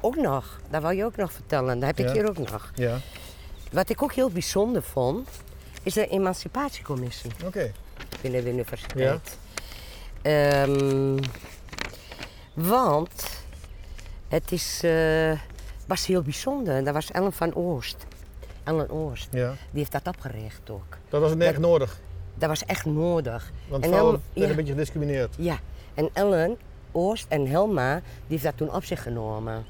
S2: ook nog. Dat wou je ook nog vertellen. Dat heb ik
S1: Ja.
S2: hier ook nog.
S1: Ja,
S2: Wat ik ook heel bijzonder vond, is de emancipatiecommissie
S1: oké.
S2: binnen de universiteit. Ehm, want het is, eh, was heel bijzonder. Dat was Ellen van Oost. Ellen Oost.
S1: Ja.
S2: Die heeft dat opgericht ook.
S1: Dat was het echt nodig.
S2: Dat was echt nodig.
S1: Want
S2: En
S1: vrouwen
S2: Ellen-
S1: werden
S2: ja.
S1: een beetje gediscrimineerd.
S2: Ja, en Ellen, Oost en Helma, die heeft dat toen op zich genomen.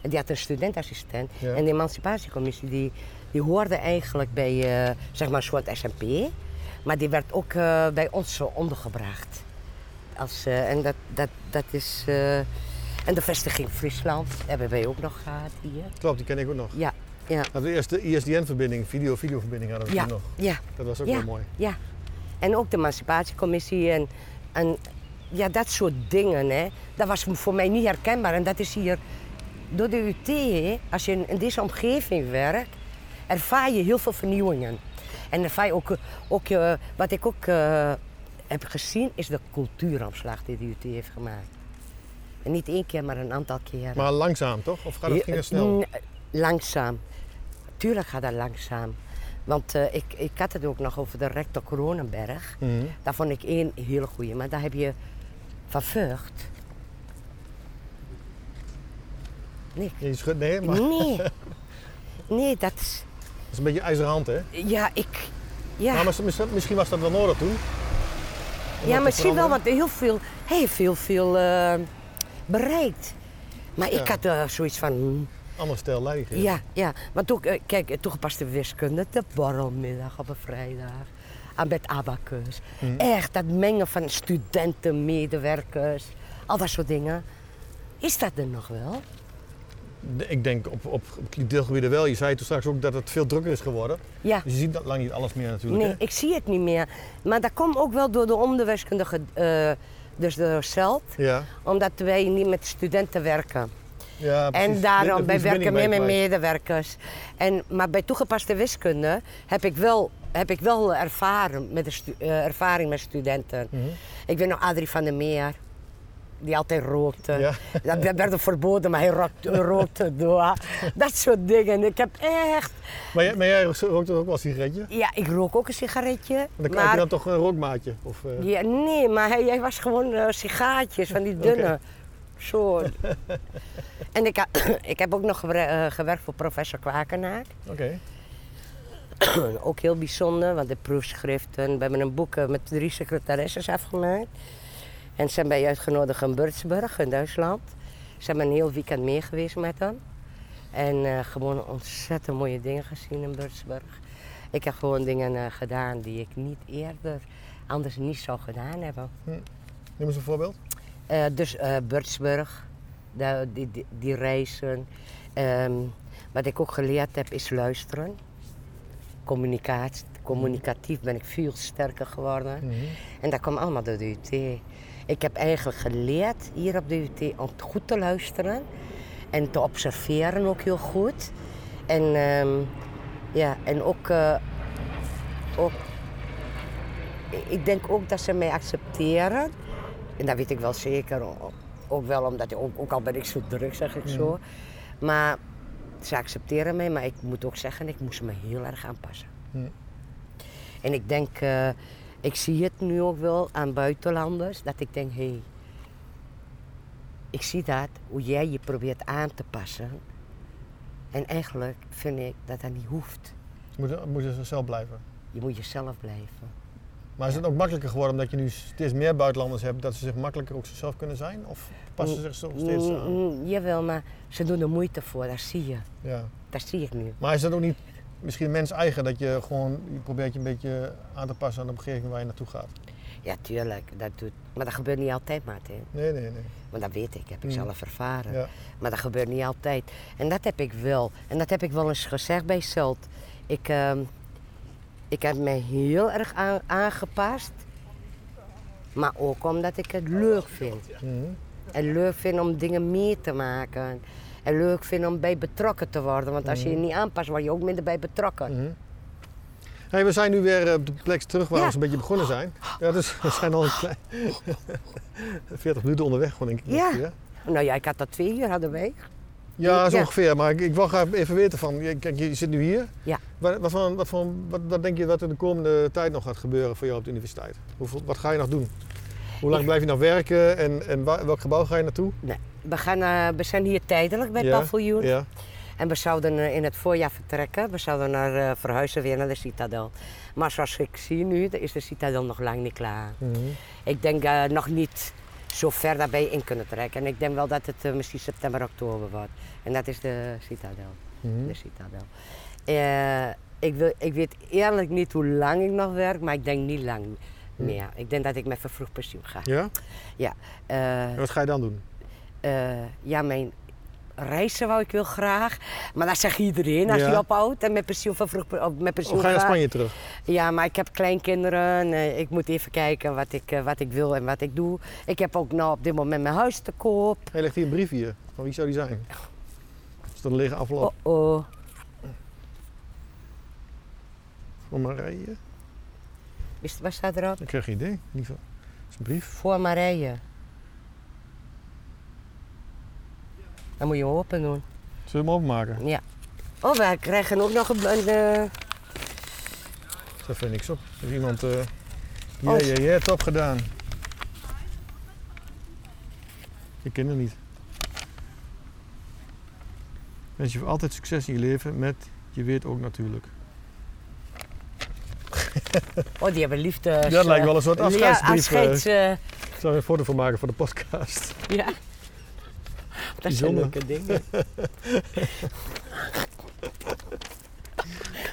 S2: En die had een studentassistent.
S1: Ja.
S2: En de emancipatiecommissie, die, die hoorde eigenlijk bij, eh, zeg maar, een soort SMP. Maar die werd ook eh, bij ons zo ondergebracht. Als, eh, en dat, dat, dat is... eh, en de vestiging Friesland hebben wij ook nog gehad hier.
S1: Klopt, die ken ik ook nog.
S2: Ja, ja,
S1: Dat was eerst de ISDN-verbinding, video-video-verbinding hadden we
S2: ja,
S1: toen nog.
S2: ja.
S1: Dat was ook
S2: ja,
S1: wel mooi.
S2: Ja, en ook de emancipatiecommissie en, en ja, dat soort dingen. Hè. Dat was voor mij niet herkenbaar. En dat is hier door de UT, hè, als je in, in deze omgeving werkt, ervaar je heel veel vernieuwingen. En ervaar je ook, ook eh, wat ik ook eh, heb gezien, is de cultuuromslag die de UT heeft gemaakt. En niet één keer, maar een aantal keer.
S1: Maar langzaam, toch? Of gaat het, ging het snel?
S2: N- eh, mm, Langzaam. Tuurlijk gaat dat langzaam. Want eh, ik, ik had het ook nog over de rector Kronenberg.
S1: Mhm.
S2: Daar vond ik één hele goeie. Maar daar heb je van Vught.
S1: Je schudt, nee, maar het
S2: Nee. Nee, dat is...
S1: is een beetje ijzeren hand, hè? Nou,
S2: Ja, ik... Ja,
S1: Maar mis- misschien was dat wel nodig toen.
S2: ja
S1: te
S2: misschien wel,
S1: veranderen.
S2: want heel veel... Hij heeft heel veel eh, bereikt. Maar ik had eh, zoiets van, hmm,
S1: Allemaal stijl leiding.
S2: ja, ja. Want ook, eh, kijk, toegepaste wiskunde, de borrelmiddag op een vrijdag. Aan met abacus.
S1: Hmm.
S2: Echt, dat mengen van studenten, medewerkers, al dat soort dingen. Is dat er nog wel?
S1: Ik denk op, op, op deelgebieden wel. Je zei toen straks ook dat het veel drukker is geworden.
S2: Ja.
S1: Dus je ziet dat lang niet alles meer natuurlijk.
S2: Nee,
S1: hè?
S2: ik zie het niet meer. Maar dat komt ook wel door de onderwijskundige, eh, dus door zelf.
S1: Ja,
S2: Omdat wij niet met studenten werken.
S1: ja precies.
S2: En
S1: Dat is
S2: daarom, wij
S1: de verbinding
S2: werken meer
S1: bij
S2: met
S1: kwijt.
S2: medewerkers. En, maar bij toegepaste wiskunde heb ik wel, heb ik wel ervaren met de stu- eh, ervaring met studenten.
S1: Mhm.
S2: Ik weet nog Adrie van der Meer, die altijd rookte.
S1: Ja.
S2: Dat werd hem verboden, maar hij rookte, rookte door. Dat soort dingen. Ik heb echt...
S1: Maar jij, maar jij rookt toch ook wel een sigaretje?
S2: Ja, ik rook ook een sigaretje.
S1: Dan krijg je
S2: maar
S1: dan toch een rookmaatje? Of, eh,
S2: Ja, nee, maar hij, hij was gewoon eh sigaatjes van die dunne.
S1: Oké.
S2: Zo. en ik, ha- ik heb ook nog gewer- eh, gewerkt voor professor Kwakenaar.
S1: Oké.
S2: ook heel bijzonder, want de proefschriften. We hebben een boek eh, met drie secretaresses afgemaakt. En zijn bij uitgenodigd in Burtsburg in Duitsland. Ze hebben een heel weekend mee geweest met hem. En eh, gewoon ontzettend mooie dingen gezien in Burtsburg. Ik heb gewoon dingen eh, gedaan die ik niet eerder anders niet zou gedaan hebben.
S1: Noem eens een voorbeeld.
S2: Eh, dus eh Burtsburg, da- die, die, die reizen. Ehm, wat ik ook geleerd heb is luisteren. Communicatie, communicatief ben ik veel sterker geworden. En dat kwam allemaal door de UT. Ik heb eigenlijk geleerd hier op de UT om goed te luisteren. En te observeren ook heel goed. En, ehm, ja, en ook, eh, ook ik denk ook dat ze mij accepteren. En dat weet ik wel zeker. o- Ook wel omdat, ook, ook al ben ik zo druk, zeg ik zo. Maar ze accepteren mij, maar ik moet ook zeggen, ik moest me heel erg aanpassen. En ik denk, eh, ik zie het nu ook wel aan buitenlanders, dat ik denk, hé, hey, ik zie dat, hoe jij je probeert aan te passen. En eigenlijk vind ik dat dat niet hoeft.
S1: Ze moeten, moeten ze zelf blijven.
S2: Je moet jezelf blijven.
S1: Maar is het ook makkelijker geworden omdat je nu steeds meer buitenlanders hebt, dat ze zich makkelijker ook zichzelf kunnen zijn? Of passen ze zich zo steeds
S2: Mm,
S1: aan?
S2: mm, jawel, maar ze doen er moeite voor, dat zie je.
S1: Ja.
S2: Dat zie ik nu.
S1: Maar is dat ook niet misschien mens eigen, dat je gewoon je probeert je een beetje aan te passen aan de omgeving waar je naartoe gaat?
S2: Ja, tuurlijk, dat doet. Maar dat gebeurt niet altijd, Martin.
S1: Nee, nee, nee.
S2: Want dat weet ik, heb ik zelf ervaren.
S1: Mm. Ja.
S2: Maar dat gebeurt niet altijd. En dat heb ik wel. En dat heb ik wel eens gezegd bij Celt. Ik, ehm, ik heb mij heel erg aan- aangepast. Maar ook omdat ik het leuk vind.
S1: Mm.
S2: En leuk vind om dingen mee te maken. En leuk vind om bij betrokken te worden. Want als je je
S1: Mm.
S2: niet aanpast, word je ook minder bij betrokken.
S1: Hey, we zijn nu weer eh, op de plek terug waar
S2: Ja.
S1: we een beetje begonnen zijn. Ja, dus we zijn al een klein... 40 minuten onderweg, gewoon, denk ik.
S2: Ja.
S1: ongeveer.
S2: Nou ja, ik had dat twee uur, hadden wij.
S1: Ja, zo
S2: Ja.
S1: ongeveer. Maar ik, ik wil graag even weten van, je- kijk, je zit nu hier.
S2: Ja.
S1: Wat, wat, voor, wat, voor, wat, wat denk je dat er de komende tijd nog gaat gebeuren voor jou op de universiteit? Hoeveel, wat ga je nog doen? Hoe lang blijf je nog werken en, en waar- welk gebouw ga je naartoe?
S2: Nee, we, gaan, eh, we zijn hier tijdelijk bij
S1: Ja,
S2: Paviljoen.
S1: Ja.
S2: En we zouden eh, in het voorjaar vertrekken. We zouden naar, eh, verhuizen weer naar de Citadel. Maar zoals ik zie nu, is de Citadel nog lang niet klaar.
S1: Mhm.
S2: Ik denk eh, nog niet zo ver daarbij in kunnen trekken. En ik denk wel dat het eh, misschien september, oktober wordt. En dat is de Citadel.
S1: Mhm. Hm?
S2: De Citadel. Eh, ik, wil, ik weet eerlijk niet hoe lang ik nog werk, maar ik denk niet lang meer. Ik denk dat ik met vervroegd pensioen ga.
S1: ja?
S2: Ja, eh,
S1: En wat ga je dan doen?
S2: eh, ja, mijn reizen wou ik heel graag. Maar dat zegt iedereen als
S1: Ja.
S2: je ophoudt en met pensioen van vroeg of met pensioen
S1: Of Oh, ga je naar
S2: gaat.
S1: Spanje terug?
S2: Ja, maar ik heb kleinkinderen. eh, Ik moet even kijken wat ik, eh, wat ik wil en wat ik doe. Ik heb ook nou op dit moment mijn huis te koop.
S1: Hij legt hier een brief hier. Van wie zou die zijn? Is dat een lege envelop?
S2: Oh oh. Oh.
S1: Van Marije?
S2: Is- Wat staat erop?
S1: Ik krijg geen idee. Niet van. Het is een brief.
S2: Voor Marije. Dan moet je hem open doen.
S1: Zullen we hem openmaken?
S2: Ja. Oh, wij krijgen ook nog een. een, eh,
S1: Er staat verder niks op. Er is iemand... eh
S2: Oh.
S1: Ja, ja, ja, top gedaan. Ik ken hem niet. Wens je voor altijd succes in je leven met je weet ook natuurlijk.
S2: oh, die hebben eh. liefde.
S1: dat
S2: eh,
S1: lijkt wel een soort afscheidsbrief.
S2: Ja, afscheids, eh,
S1: Zou je een foto van maken voor de podcast?
S2: ja. Dat zijn
S1: Bijzonder.
S5: leuke dingen.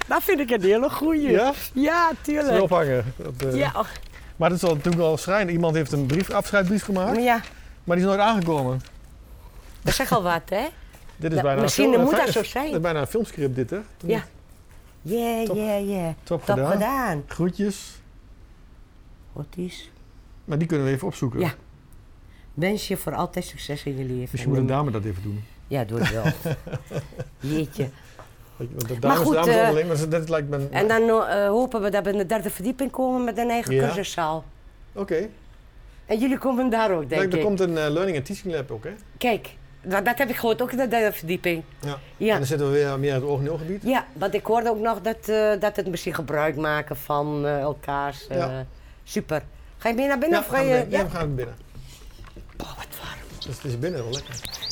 S5: dat vind ik een hele goeie.
S1: Ja?
S5: Ja,
S1: Dat is
S5: tuurlijk.
S1: ophangen. Dat, eh,
S5: Ja, och,
S1: Maar dat is wel natuurlijk wel schrijnend. Iemand heeft een brief, afscheidbrief
S2: Maar
S1: gemaakt,
S2: ja,
S1: maar die is nooit aangekomen.
S2: dat zegt al wat, hè?
S1: Dit is
S2: Ja,
S1: bijna een
S2: misschien
S1: film-
S2: moet
S1: eh,
S2: dat zo zijn.
S1: Dit is bijna een filmscript dit, hè?
S2: Ja. Yeah,
S1: Top.
S2: yeah, yeah.
S1: Top
S2: Top
S1: gedaan.
S2: gedaan.
S1: Groetjes.
S2: Wat is?
S1: Maar die kunnen we even opzoeken.
S2: Ja. Wens je voor altijd succes in je leven.
S1: Misschien moet een dame dat even doen.
S2: Ja, doe het wel. Jeetje.
S1: Weet je, Want de dames,
S2: goed,
S1: dames
S2: eh,
S1: onderling, maar ze- dat lijkt me... een-
S2: En dan eh, hopen we dat we in de derde verdieping komen met een eigen
S1: Ja.
S2: cursuszaal.
S1: Oké.
S2: En jullie komen daar ook, denk
S1: Kijk, er
S2: ik.
S1: komt een eh, Learning and Teaching Lab ook, hè?
S2: Kijk, dat, dat heb ik gehoord, ook in de derde verdieping.
S1: Ja. En
S2: Ja.
S1: dan zitten we weer meer in het oog- en ooggebied.
S2: ja, want ik hoorde ook nog dat, eh, dat het misschien gebruik maken van eh, elkaars. eh,
S1: Ja.
S2: Super. Ga je mee naar binnen
S1: Ja,
S2: of
S1: we
S2: ga
S1: gaan
S2: je...
S1: binnen. Ja, we gaan binnen.
S2: Oh, wat warm.
S1: Dus het is binnen wel lekker.